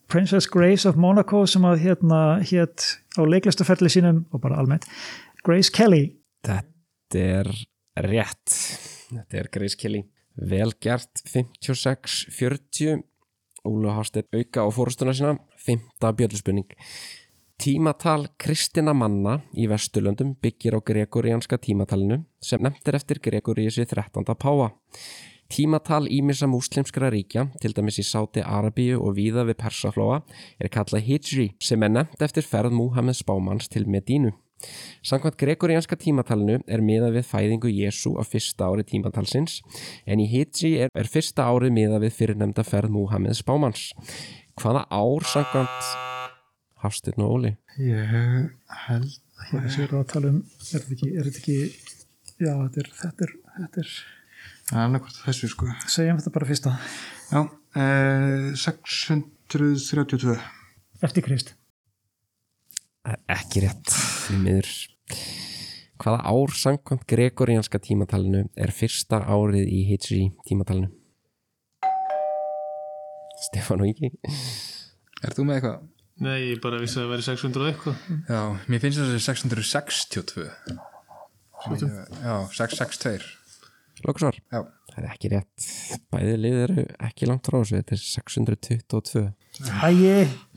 Speaker 5: Princess Grace of Monaco sem að hérna hétt á leiklistaferli sínum og bara almennt Grace Kelly
Speaker 1: Þetta er rétt. Þetta er Grace Kelly. Vel gert 56-40. Ólu Hásteinn auka á fórustuna sína. Fymta bjölluspunning. Tímatal kristina manna í Vesturlöndum byggir á gregorianska tímatalinu sem nefnt er eftir Gregoriðsi 13. páa. Tímatal ímissa múslimskra ríkja, til dæmis í Sáti Arabíu og víða við Persaflóa, er kallað Hijri sem er nefnt eftir ferð Múhammed Spámans til Medínu. Samkvæmt gregorianska tímatalinu er miðað við fæðingu Jésu á fyrsta ári tímatalsins en í Hidji er, er fyrsta ári miðað við fyrirnemda ferð Múhammed Spámans. Hvaða ár samkvæmt Hafsteinn og Óli?
Speaker 2: Ég held,
Speaker 5: hérna sem við erum að tala um er þetta ekki, er þetta ekki já þetta er, þetta er, þetta er
Speaker 2: það er annarkvort þessu sko.
Speaker 5: segjum þetta bara fyrsta
Speaker 2: Já, eh, 632.
Speaker 5: eftir Krist
Speaker 1: Það er Ekki rétt, því miður. Hvaða ár samkvæmt gregorianska tímatalinu er fyrsta árið í Hidji tímatalinu? Stefán og Ingi?
Speaker 3: Er þú með eitthvað?
Speaker 4: Nei, ég bara vissi að það væri 600 og eitthvað.
Speaker 3: Já, mér finnst þessi 662 Já, 662
Speaker 1: Lóksvar?
Speaker 3: Já.
Speaker 1: Það er ekki rétt. Bæði lið eru ekki langt frá þessu, þetta er 622.
Speaker 5: Æi,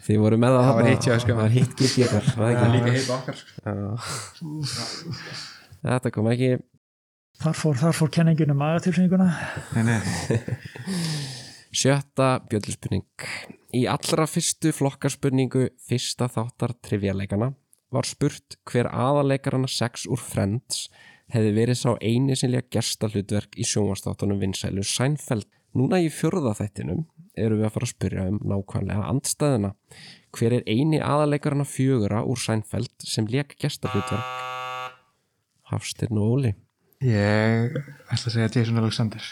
Speaker 1: Þið voru með það
Speaker 3: Það var
Speaker 1: þarna.
Speaker 3: hitt hjá þér, sko.
Speaker 1: Það var hitt gitt ég þar.
Speaker 3: Það er líka heita okkar
Speaker 1: Þetta kom ekki
Speaker 5: Þar fór, þar fór kenningin um magatilfinninguna.
Speaker 2: Nei, nei.
Speaker 1: Sjötta bjölluspurning. Í allra fyrstu flokkarspurningu fyrsta þáttar trivjaleikana var spurt hver aðaleikaranna sex úr Friends hefði verið sá eini sinlega gerstallutverk í sjónvastáttunum vinsælu Seinfeld. Núna í fjörða þættinum erum við að fara að spyrja um nákvæmlega andstæðina. Hver er eini aðaleikaranna fjögura úr Seinfeld sem leik gerstallutverk? Hafstinn og Óli.
Speaker 2: Ég ætla að segja Jason Alexander.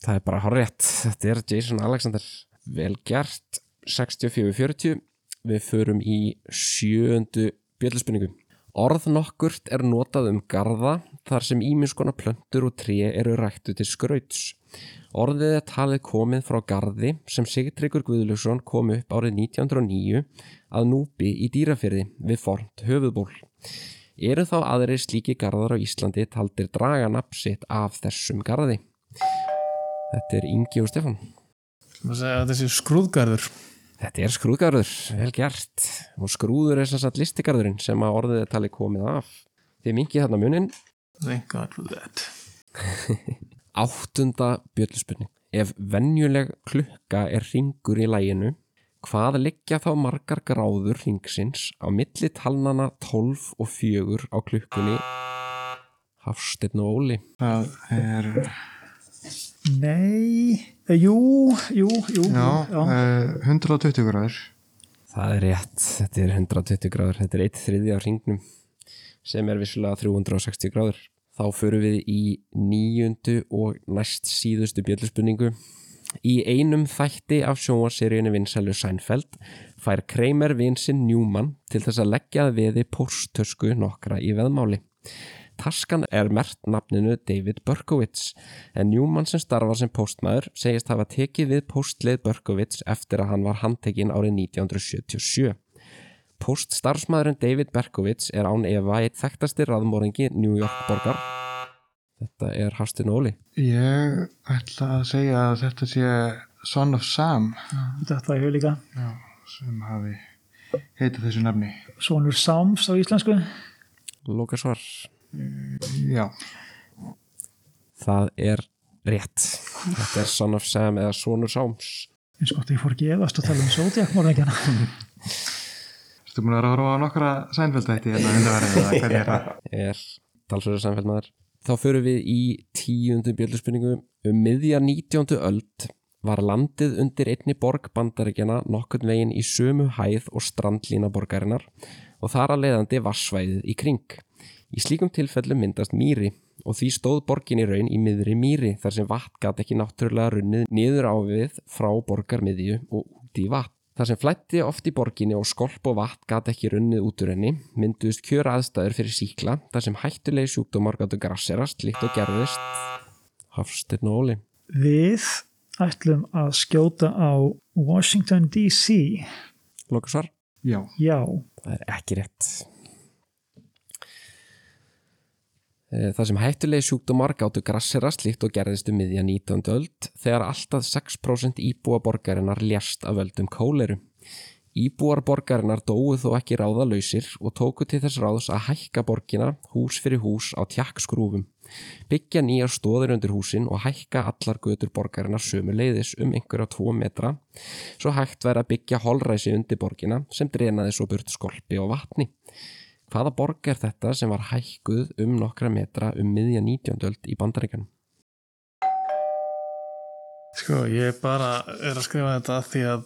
Speaker 1: Það er bara horrið. Þetta er Jason Alexander. Vel gert. 64-40. Við förum í sjöundu bjöllspurningu. Orð nokkurt er notað um garða þar sem ímiskona plöntur og tré eru rættu til skrauts. Orðið er talið komið frá garði sem Sigtryggur Guðlöksson kom upp árið 1909 að núpi í dýrafyrði við fornt höfuðból. Eru þá aðri slíki garðar á Íslandi taldir draganapp sitt af þessum garði? Þetta er Ingi og Stefán.
Speaker 4: Það segja að þessi skrúðgarður
Speaker 1: Þetta er skrúðgarður, vel gert. Og skrúður er sem sagt listigarðurinn sem að orðið er talið komið af. Þið minkið þarna munin.
Speaker 4: Thank God for that
Speaker 1: Áttunda bjöllspurning. Ef venjuleg klukka er ringur í læginu, hvað liggja þá margar gráður ringsins á milli talnana 12 og 4 á klukkunni Hafsteinn og Óli?
Speaker 2: Það er,
Speaker 5: Nei, eh, jú, jú, jú.
Speaker 2: já,
Speaker 5: jú, já.
Speaker 2: uh, 120 gráður.
Speaker 1: Það er rétt, þetta er 120 gráður, þetta er eitt þriði af hringnum sem er vissulega 360 gráður. Þá förum við í níundu og næst síðustu bjölluspunningu. Í einum þætti af sjónvaseríunni Vinsælu Sænfeld fær Kramer vinsinn Newman til þess að leggja að veði pórstösku nokkra í veðmáli. Taskan er mert nafninu David Berkowitz en Newman sem starfar sem póstmaður segist hafa tekið við póstlið Berkowitz eftir að hann var handtekinn árið 1977. Póststarfsmaðurinn David Berkowitz er án efa eitt þekktasti raðmóringi New York borgar. Þetta er Hafstin Óli.
Speaker 2: Ég ætla að segja að þetta sé Son of Sam
Speaker 5: Þetta er líka
Speaker 2: sem hafi heitað þessu nafni.
Speaker 5: Svonur Sáms á íslensku.
Speaker 1: Loka svar.
Speaker 2: Já,
Speaker 1: Það er rétt. Þetta er Son of Sam eða Sonur Sáms.
Speaker 5: Eins gott að ég fór að gefast að tala um Zodiac morðingjana.
Speaker 2: ertu múin að vera að horfa á nokkra sænfjöldætti en að hundra verið eða hvernig er það?
Speaker 1: er talsverður samfélmaður. Þá förum við í tíundu bjöldspurningu. Um miðja 19. öld var landið undir einni borg bandaríkjana nokkurn veginn í sömu hæð og strandlína borgarinnar og þar að leiðandi vassvæðið í kring. Í slíkum tilfellum myndast mýri og því stóð borgin í raun í miðri mýri þar sem vatn gat ekki náttúrulega runnið niður á við frá borgarmiðju og út í vatn. Þar sem flætti oft í borginni og skolp og vatn gat ekki runnið út úr henni mynduðust kjöra aðstæður fyrir síkla þar sem hættulegi sjúkdómar gáttu grasserast líkt og gerðist Hafsteinn og Óli
Speaker 5: Við ætlum að skjóta á Washington DC.
Speaker 1: Lokasvar
Speaker 2: Já,
Speaker 5: Já,
Speaker 1: Það er ekki rétt. Eh, Það sem hættulegi sjúkdómar gáttu grasserast líkt og gerðist um miðja 19. öld þegar alltaf 6% íbúa borgarinnar lést af völdum kóleru. Íbúar borgarinnar dóu þó ekki ráðalausir og tóku til þess ráðs að hækka borgina hús fyrir hús á tjakkskrúfum, byggja nýja stóðir undir húsin og hækka allar götur borgarinnar sömu leiðis um einhverja 2 metra, svo hægt væri að byggja holræsi undir borgina sem drenaði svo burt skolpi og vatni. Hvaða borg er þetta sem var hækkuð um nokkra metra um miðja 19. öld í bandaríkanum?
Speaker 4: Sko, ég bara er að skrifa þetta af því að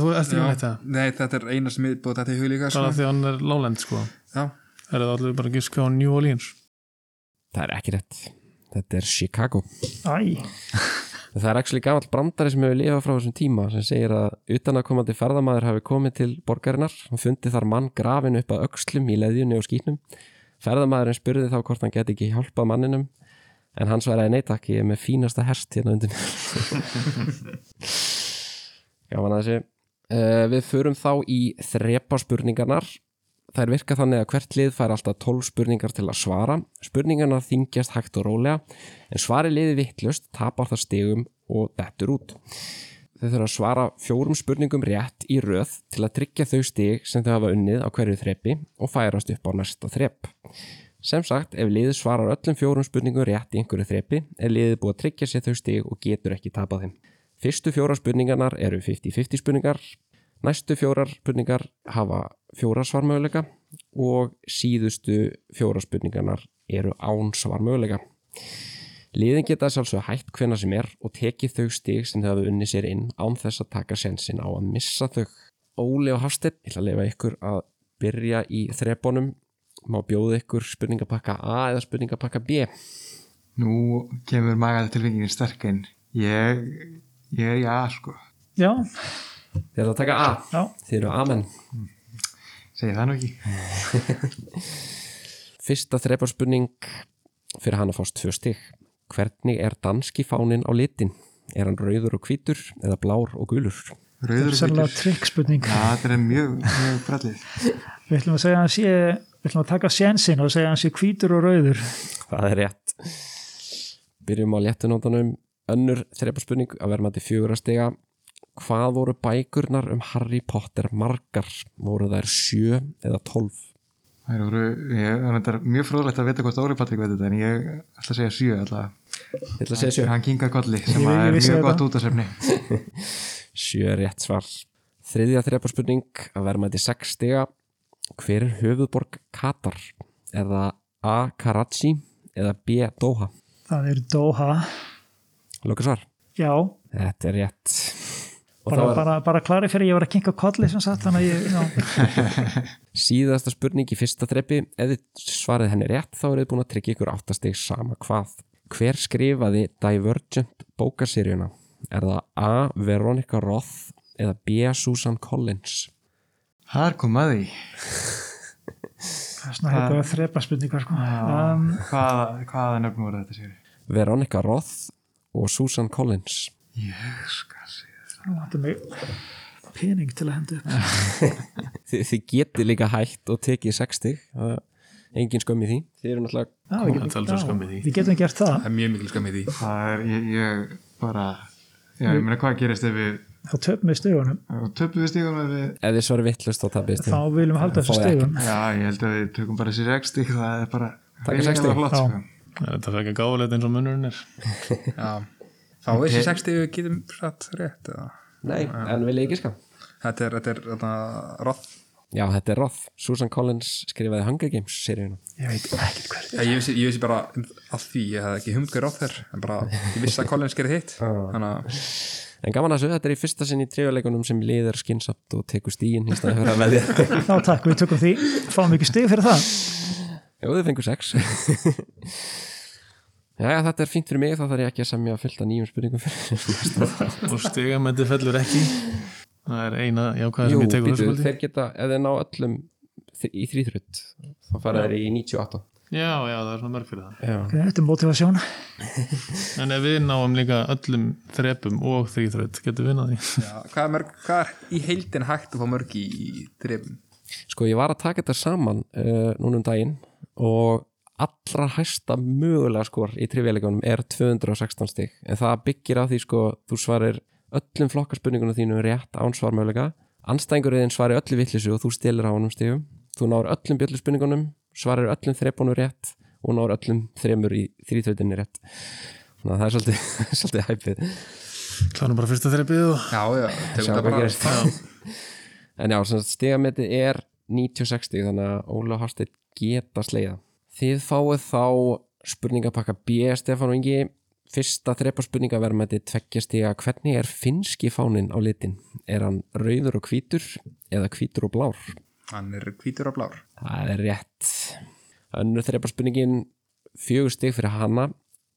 Speaker 4: þú ert ekki með þetta
Speaker 3: Nei, þetta er eina sem ég búið þetta í hug líka
Speaker 4: bara af
Speaker 3: sko.
Speaker 4: því að hann er lálend sko
Speaker 3: Já,
Speaker 4: Er það allir bara að giska á New Orleans
Speaker 1: Það er ekki rétt. Þetta er Chicago.
Speaker 5: æ,
Speaker 1: Það er ekki gamall brandari sem hefur lifað frá þessum tíma sem segir að utanakomandi ferðamaður hafi komið til borgarinnar og fundið þar mann grafin upp að öxlum í leðjunni og skýtnum. Ferðamaðurinn spurði þá hvort hann geti ekki hjálpað manninum en hann svaraði neitt ég er með fínasta herst hérna undir mér. Gaman að þessu. Uh, við förum þá í þrepa spurningarnar. Þær virka þannig að hvert lið fær alltaf 12 spurningar til að svara. Spurningarnar þingjast hægt og rólega en svari liði vittlust, tapar það stegum og dettur út. Þau þurfa að svara fjórum spurningum rétt í röð til að tryggja þau stig sem þau hafa unnið á hverju þrepi og færast upp á næsta þrep. Sem sagt, ef liðið svarar öllum fjórum spurningum rétt í einhverju þrepi, er liðið búið að tryggja sér þau stig og getur ekki tapað þeim. Fyrstu fjóra spurningarnar eru 50-50 spurningar, næstu fjórar spurningar hafa fjóra svarmöguleika og síðustu fjóra spurningarnar eru án svarmöguleika. Liðin geta sjálfsög hætt hvena sem er og tekið þau stig sem þau hafa unni sér inn án þess að taka sensin á að missa þau. Óli og Hafsteinn, ég ætla að leifa ykkur að byrja í þrepunum má bjóða ykkur spurningapakka A eða spurningapakka B
Speaker 2: Nú kemur magaði tilfengingin sterk inn. Ég, ég er í A, sko.
Speaker 5: Já,
Speaker 1: Þið eru að taka A,
Speaker 5: já,
Speaker 1: þið eru amen
Speaker 2: Segir það nú ekki.
Speaker 1: Fyrsta þreparspurning fyrir hann að fást tvö stig Hvernig er danski fáninn á litin? Er hann rauður og hvítur eða blár og gulur?
Speaker 5: þetta
Speaker 2: Rauður
Speaker 5: er
Speaker 2: og
Speaker 5: sérlega
Speaker 2: hvítur.
Speaker 5: trikkspurning.
Speaker 2: Já, þetta er mjög, mjög brallið.
Speaker 5: Við ætlum að segja að hann sé, við ætlum að taka sénsinn og segja að hann sé hvítur og rauður.
Speaker 1: Það er rétt Byrjum á léttunóttanum Önnur þreparspurning að verma til fjögur að stiga Hvað voru bækurnar um Harry Potter margar? Voru þær sjö eða tólf?
Speaker 2: Það eru, ég, það er mjög fróðlegt að vita hvort Óli Patrik veit þetta en ég ætla að segja sjö alltaf.
Speaker 1: Ég ætla að segja sjö
Speaker 2: Hann kingar kolli sem
Speaker 5: Ég- ég
Speaker 2: er
Speaker 5: vissi
Speaker 2: mjög
Speaker 5: þetta.
Speaker 2: gott út af semni.
Speaker 1: Sjö er rétt svar. Þriðja þreparspurning að verma þetta í sex stiga. Hver er höfuðborg Katar? Er það A. Karachi eða B. Doha?
Speaker 5: Það er Doha.
Speaker 1: Loka svar.
Speaker 5: Já,
Speaker 1: Þetta er rétt. Og
Speaker 5: bara,
Speaker 1: það var
Speaker 5: bara, bara klari fyrir ég var að kinka kolli sem sagt, þannig að ég, já,
Speaker 1: síðasta spurning í fyrsta þrepi. Ef þið svarið henni rétt þá eru þið búin að tryggja ykkur áttastig sama hvað. Hver skrifaði Divergent bókaseríuna? Er það A. Veronica Roth eða B. Susan Collins?
Speaker 2: Þar kom að því.
Speaker 5: það er svona hefur að þrepa spurningar, sko. Um,
Speaker 2: Hvaða, hvaða nöfnum voru þetta sér?
Speaker 1: Veronica Roth og Susan Collins.
Speaker 2: Ég skal segja.
Speaker 5: þetta er mig pening til að henda upp.
Speaker 1: þið, þið getið líka hægt og tekið 60 það er engin skömm í því þið eru náttúrulega
Speaker 5: Já, við
Speaker 4: Það er alveg
Speaker 5: já,
Speaker 4: skömm í því.
Speaker 5: Við getum gert það.
Speaker 3: það er mjög mikil skamið því
Speaker 2: Það er, ég, ég bara, já, ég meina hvað gerist ef við
Speaker 5: Þá töpum við stöðunum.
Speaker 2: töpum við stígum ef við
Speaker 1: ef þið svarir vittlust þá tapist
Speaker 5: Þá
Speaker 1: þið
Speaker 5: viljum við halda þessu
Speaker 1: Fáið
Speaker 5: stöðum.
Speaker 2: Já, ég held að við tökum bara sér ekki stík, það er bara
Speaker 1: Taka sex stig.
Speaker 2: virkilega flott,
Speaker 5: Já.
Speaker 2: sko.
Speaker 4: Þetta fekk að gáðulegt eins og munurinn er.
Speaker 3: Já. þá er þessi 60 við getum satt rétt eða?
Speaker 1: nei, en vil ég giska
Speaker 3: þetta er, þetta er þetta, roth
Speaker 1: já, þetta er Roth, Susan Collins skrifaði Hunger Games seríuna
Speaker 5: Ég veit ekkert hver.
Speaker 3: Já, ég, vissi, ég vissi bara að því ég hafði ekki humt hver á þér en bara ég vissi að Collins gerði hitt þannig að
Speaker 1: en gaman að þessu, þetta er í fyrsta sinn í trefjuleikunum sem liðar skynsamt og tekur stíin í staði fyrir að velja
Speaker 5: Þá takk, við tökum því. Fáum við ekki stöð fyrir það.
Speaker 1: Jó, þið fengur sex Jæja, þetta er fínt fyrir mig þá þarf ég ekki að semja fullt af nýjum spurningum fyrir
Speaker 4: Og stigamætti fellur ekki. Það er eina jákvæða
Speaker 1: Jú,
Speaker 4: sem ég tekur
Speaker 1: býtu,
Speaker 4: þessu kvöldi.
Speaker 1: þeir geta, ef þeir ná öllum þri- í þrýþrutt þá fara þeir í 98
Speaker 4: Já, já, það er svona mörg fyrir það.
Speaker 1: Já,
Speaker 5: Ok, Þetta er motivasjón.
Speaker 4: En ef við náum líka öllum þrepum og þrýþröð, getum við náð því.
Speaker 3: já, hvað, er mörg, hvað er í heildin hægt að fá mörg í, í drefum?
Speaker 1: Sko ég var að taka þetta saman uh, núna um daginn og allra hæsta mögulega skor í trivjalegunum er 216 stig en það byggir á því sko þú svarir öllum flokkarspunningunum þínum rétt án svarmögulega anstæðingurinn svarir öllu vitlísu og þú stilir á honum stigum þú náður öllum bjölluspunningunum svarir öllum þrepunum rétt og náður öllum þremur í þrítöðinni rétt þannig að það er svolítið, svolítið hæpið
Speaker 4: Klárum bara fyrsta þrepið og...
Speaker 3: já, já,
Speaker 1: Sjáum
Speaker 3: tegum
Speaker 1: hvað
Speaker 3: þetta bara
Speaker 1: gerist. En já, sem sagt, stigametið er 90-60 þannig að Óla Hafsteinn geta sleiða. Þið fáið þá spurningapakka B, Stefán og Ingi. Fyrsta þrepa spurningaverðmætti tveggja stiga. Hvernig er finnski fáninn á litin? Er hann rauður og hvítur eða hvítur og blár?
Speaker 3: hann er hvítur og blár
Speaker 1: Það er rétt. Önnur þrepa spurningin fjögur stig fyrir hana.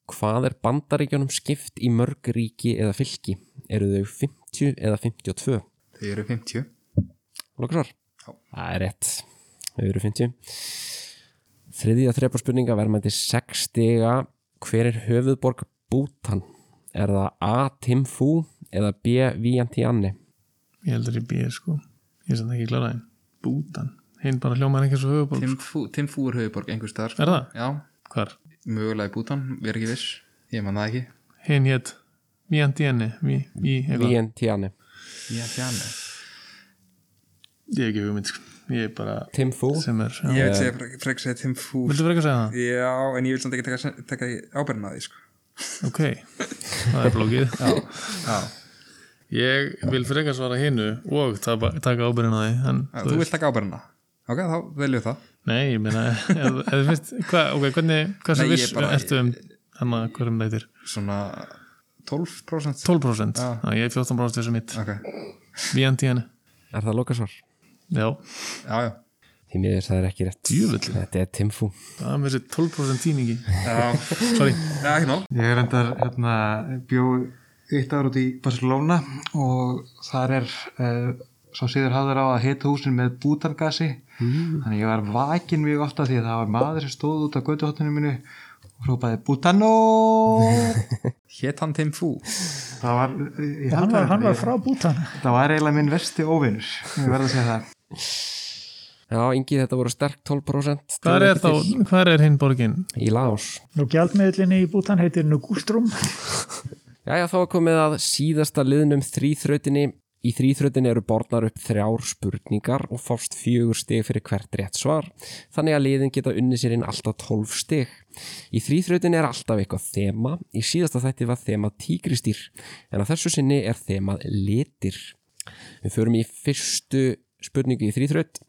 Speaker 1: Hvað er bandaríkjónum skipt í mörg ríki eða fylki? Eru þau 50 eða 52?
Speaker 3: þau eru 50
Speaker 1: Lókar svar?
Speaker 3: Já.
Speaker 1: Það er rétt. Þau eru 50. Þriðja þrepa spurninga verðmætti 6 stiga. Hver er höfuðborg Bútan? Er það A. Timfú eða B. Vientianni?
Speaker 4: Ég heldur í bíð, sko. Ég er sem ekki klára einn. Bútan. Hinn bara hljómar ekki svo höfuborg.
Speaker 3: Tim Fu- Tim Fu er höfuborg einhver staðar sko.
Speaker 4: Er það?
Speaker 3: já,
Speaker 4: Hvar?
Speaker 3: mögulega í bútan, við erum ekki viss ég man það ekki
Speaker 4: Hinn hétt Vientiane. Vi, vi, eitthvað.
Speaker 1: Vientianni.
Speaker 3: ég ekki hann
Speaker 4: Ég hef ekki hugmynd, sko. Ég er bara
Speaker 1: Tim Fu
Speaker 4: sem er
Speaker 3: Ég
Speaker 4: já.
Speaker 3: vil segja frek- frekar segja Tim Fu
Speaker 4: Viltu verið ekki að segja það?
Speaker 3: Já, en ég vil samt ekki taka, taka ábyrðin að því sko.
Speaker 4: Ok, það er blókið Ég vil frekar svara hinnu og tapa- taka ábyrðin á því en,
Speaker 3: Já,
Speaker 4: þú
Speaker 3: Þú
Speaker 4: veist-
Speaker 3: vilt taka ábyrðina Ok, þá veljum við það
Speaker 4: Nei, ég meina ef- ef þú finnst, hva, ok, hvernig hversu
Speaker 3: Nei, ég
Speaker 4: viss
Speaker 3: bara-
Speaker 4: ertu um hann að hverjum það heitir?
Speaker 3: Svona 12%
Speaker 4: 12% Já, ég er 14% þessu mitt
Speaker 3: Ok,
Speaker 4: Víandi henni
Speaker 1: Er það lokasvar?
Speaker 4: Já,
Speaker 3: já, já
Speaker 1: Því miður það er ekki rétt
Speaker 4: Djöfull.
Speaker 1: Þetta er Tim Fu
Speaker 4: það er með þessi 12% tíningi
Speaker 3: Já,
Speaker 4: Sorry,
Speaker 3: já, ekki mál
Speaker 2: Ég er endar hérna, bjó eitt ár út í Barcelona og þar er uh, svo síður hafður á að hita húsin með bútangasi þannig ég var vakin mjög ofta því að það var maður sem stóð út á götuhottinu mínu og hrópaði Bútanó
Speaker 3: Hét hann Tim Fu
Speaker 2: það var, ég
Speaker 5: Og hann
Speaker 2: held
Speaker 5: var,
Speaker 2: að
Speaker 5: hann var frá Bútan.
Speaker 2: það var eiginlega minn versti óvinnur ég verð að segja það
Speaker 1: Já, Ingi, þetta voru sterk 12%
Speaker 4: hvað er þá hvað er hinn borgin?
Speaker 1: Í Laos
Speaker 5: Nú gjaldmiðlinni í Bútan heitir Nugustrum.
Speaker 1: Jæja, þá er komið að síðasta liðnum þrýþrautinni. Í þrýþrautinni eru borðnar upp þrjár spurningar og fást fjögur stig fyrir hvert rétt svar. Þannig að liðin geta unni sér inn alltaf 12 stig. Í þrýþrautinni er alltaf eitthvað þema. Í síðasta þætti var þema tígristýr, en að þessu sinni er þemað litir. Við förum í fyrstu spurningu í þrýþraut.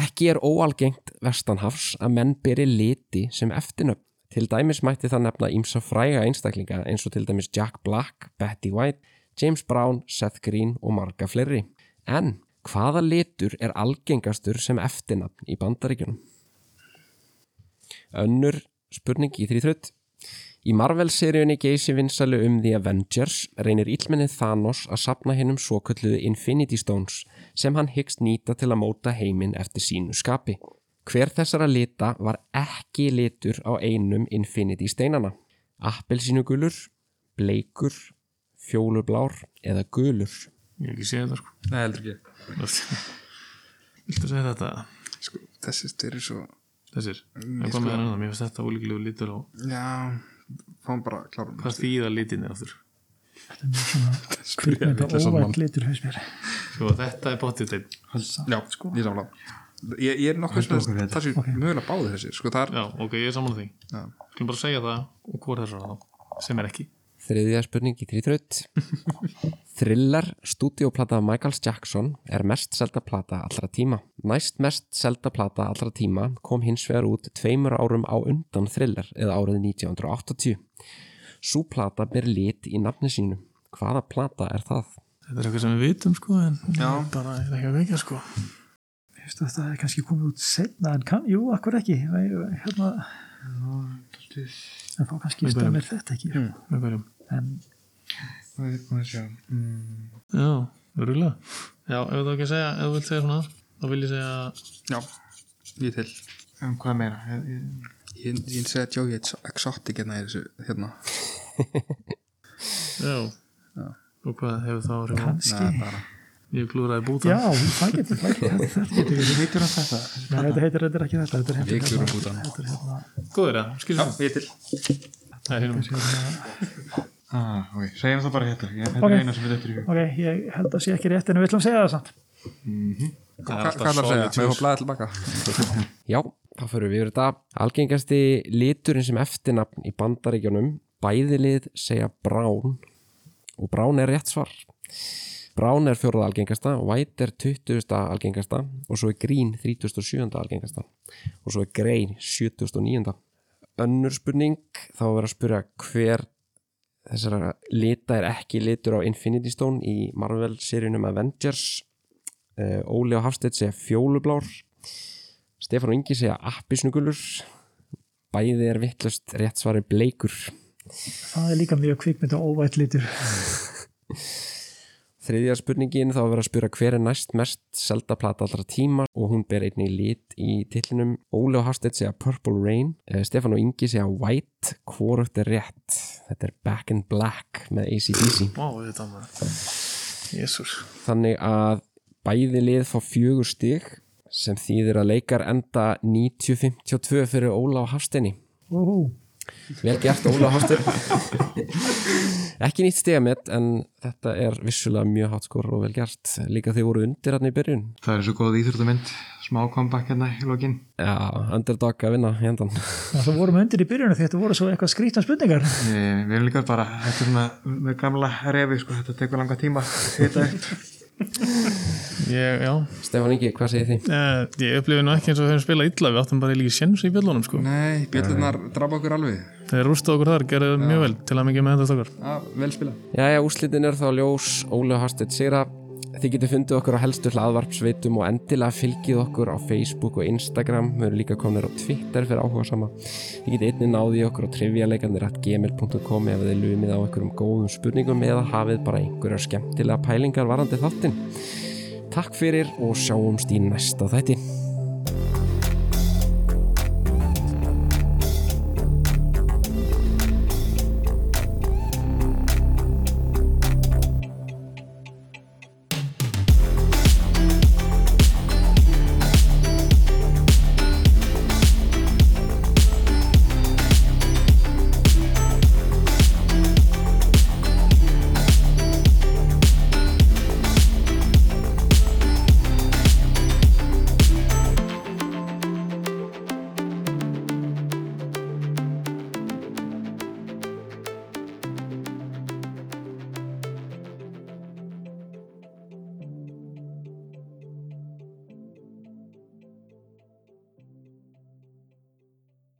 Speaker 1: Ekki er óalgengt vestanhafs að menn beri liti sem eftirnöfn. Til dæmis mætti það nefna ímsa fræga einstaklinga eins og til dæmis Jack Black, Betty White, James Brown, Seth Green og marga fleiri. En hvaða litur er algengastur sem eftirnafn í bandaríkjunum? Önnur spurning í þrýþraut. Í Marvel-seríunni geysi vinsali um The Avengers reynir illmennið Thanos að sapna hennum svo kölluðu Infinity Stones sem hann hyggst nýta til að móta heiminn eftir sínu skapi. Hver þessara lita var ekki litur á einum Infinity steinana? Appelsínugulur, bleikur, fjólublár eða gulur?
Speaker 4: Ég hef ekki séð þetta sko
Speaker 3: Nei, heldur ekki
Speaker 4: Viltu segja þetta?
Speaker 3: Sko, þessi styrir svo
Speaker 4: Þessir, eitthvað
Speaker 3: sko-
Speaker 4: með hann annan Mér finnst þetta ólíkilegu litur og
Speaker 3: Já, fáum bara að klára um hann.
Speaker 4: hvað þýða litinir aftur?
Speaker 5: Kvikmynda óvænt litur haus mér.
Speaker 4: Sko, þetta er bóttið þeim
Speaker 3: Já, sko Ég samla Ég, ég er nokkuð
Speaker 2: Haltu okkur
Speaker 3: svona
Speaker 2: við
Speaker 3: Það sé mögulega báði þessi Sko, það er
Speaker 4: Já, ok, ég er saman að því
Speaker 3: Já.
Speaker 4: Skulum bara segja það og hvor þessar þá sem er ekki
Speaker 1: Þriðja spurning í þrýþraut. Thriller, stúdíoplata Michaels Jackson, er mest selda plata allra tíma. Næst mest selda plata allra tíma kom hins vegar út tveimur árum á undan Thriller eða árið 1980. Sú plata ber lit í nafni sínu. Hvaða plata er það?
Speaker 4: Þetta er eitthvað sem við vitum sko en Já. bara er ekki að vekja sko
Speaker 5: Hefstu að það er kannski komið út setna en kann, jú, akkur ekki. Nei, Hérna, en þá kannski
Speaker 4: Við byrjum.
Speaker 5: stömmir þetta ekki.
Speaker 3: Hm.
Speaker 4: Við byrjum
Speaker 5: En
Speaker 2: Mm.
Speaker 4: Já, rúlega Já, ef þú ekki að segja, ef þú vilt segja svona þá vil ég segja
Speaker 3: Já, ég til
Speaker 2: um hvað meira Ég- ég-
Speaker 3: Ég, ég segi að Joey Ex- Exotic hérna er þessu Hérna
Speaker 4: Já, og hvað hefur þá áhrif á
Speaker 5: kannski,
Speaker 3: bara
Speaker 4: Ég klúraði búta
Speaker 5: já, það getur það getur þetta getur verið.
Speaker 2: heitir hann þetta
Speaker 5: Nei, þetta heitir, þetta er ekki þetta, þetta er
Speaker 3: Við
Speaker 5: heitir
Speaker 3: klúrum út hann
Speaker 5: Þetta er hérna,
Speaker 4: Góður það, skilur það
Speaker 3: Ég til
Speaker 4: Það er hinum
Speaker 2: ah, okay. segjum það bara hérna ég, þetta
Speaker 5: Ok.
Speaker 2: er eina sem er þetta í hug
Speaker 5: ok, ég held að sé ekki rétt en við ætlum að segja það samt.
Speaker 4: Það
Speaker 3: Hvað hvað er það að segja? Mér var blæðið tilbaka
Speaker 1: Já, þá fyrir við yfir þetta. Algengasti liturinn sem eftirnafn í bandaríkjónum, bæðilið segja brán og brán er rétt svar. Brán er fjórða algengasta, white er 20. algengasta og svo er green 37. algengasta og svo er grey 79. Önnur spurning, þá er verið að spyrja hver þessara lita er ekki litur á Infinity Stone í Marvel-seríunum Avengers. Uh, Óli og Hafstedt segja fjólublár Stefán og Ingi segja appisnugulur bæði er vittlust rétt svari bleikur
Speaker 5: Það er líka mjög kvikmynda óvætt litur.
Speaker 1: þriðja spurningin þá er verið að spura hver er næst mest selda plata allra tíma og hún ber einnig lit í tillinum Óli og Hafstedt segja Purple Rain eh, Stefán og Ingi segja White hvorugt er rétt þetta er Back in Black með ACDC
Speaker 4: Vá, þetta maður Jésús
Speaker 1: þannig að bæði lið fá fjögur stig sem þýðir að leikar enda 90-52 fyrir Óla og Hafsteinni
Speaker 5: Ó,
Speaker 1: Vel gert Óla Hafstein Ekki nýtt stegamett en þetta er vissulega mjög hátt skor og vel gert líka þeir voru undir hann í byrjun
Speaker 2: Það er svo góð íþróttamynd, smá comeback hérna í lokin.
Speaker 1: Já, underdog að vinna í hendan
Speaker 5: Það vorum undir í byrjunum því þetta voru svo eitthvað skrýtna spurningar.
Speaker 2: Eh, Við erum líka bara, þetta er svona með gamla refi, sko, þetta tekur langa tíma að hita upp.
Speaker 4: Ég, já,
Speaker 1: Stefán Ingi, hvað segir þið?
Speaker 4: uh, ég upplifi nú ekki eins og við höfum spilað illa Við áttum bara líka sjens í bjöllunum sko
Speaker 3: Nei, bjöllunar drapa okkur alveg
Speaker 4: Þeir rústa okkur þar, gerðu mjög vel til að mikið með þetta okkar
Speaker 3: ja, Ah, Vel spila
Speaker 1: Jæja, úslitin er þá ljós Óli Hastett sigra Þið getur fundið okkur á helstu hlaðvarpsveitum og endilega fylgið okkur á Facebook og Instagram Við erum líka komnir á Twitter fyrir áhuga sama Þið getur einnig náðið okkur á trivialeikandir.gmail.com ef þið lumið á einhverjum góðum spurningum eða hafið bara einhverjar skemmtilega pælingar varandi þáttinn Takk fyrir og sjáumst í næsta þætti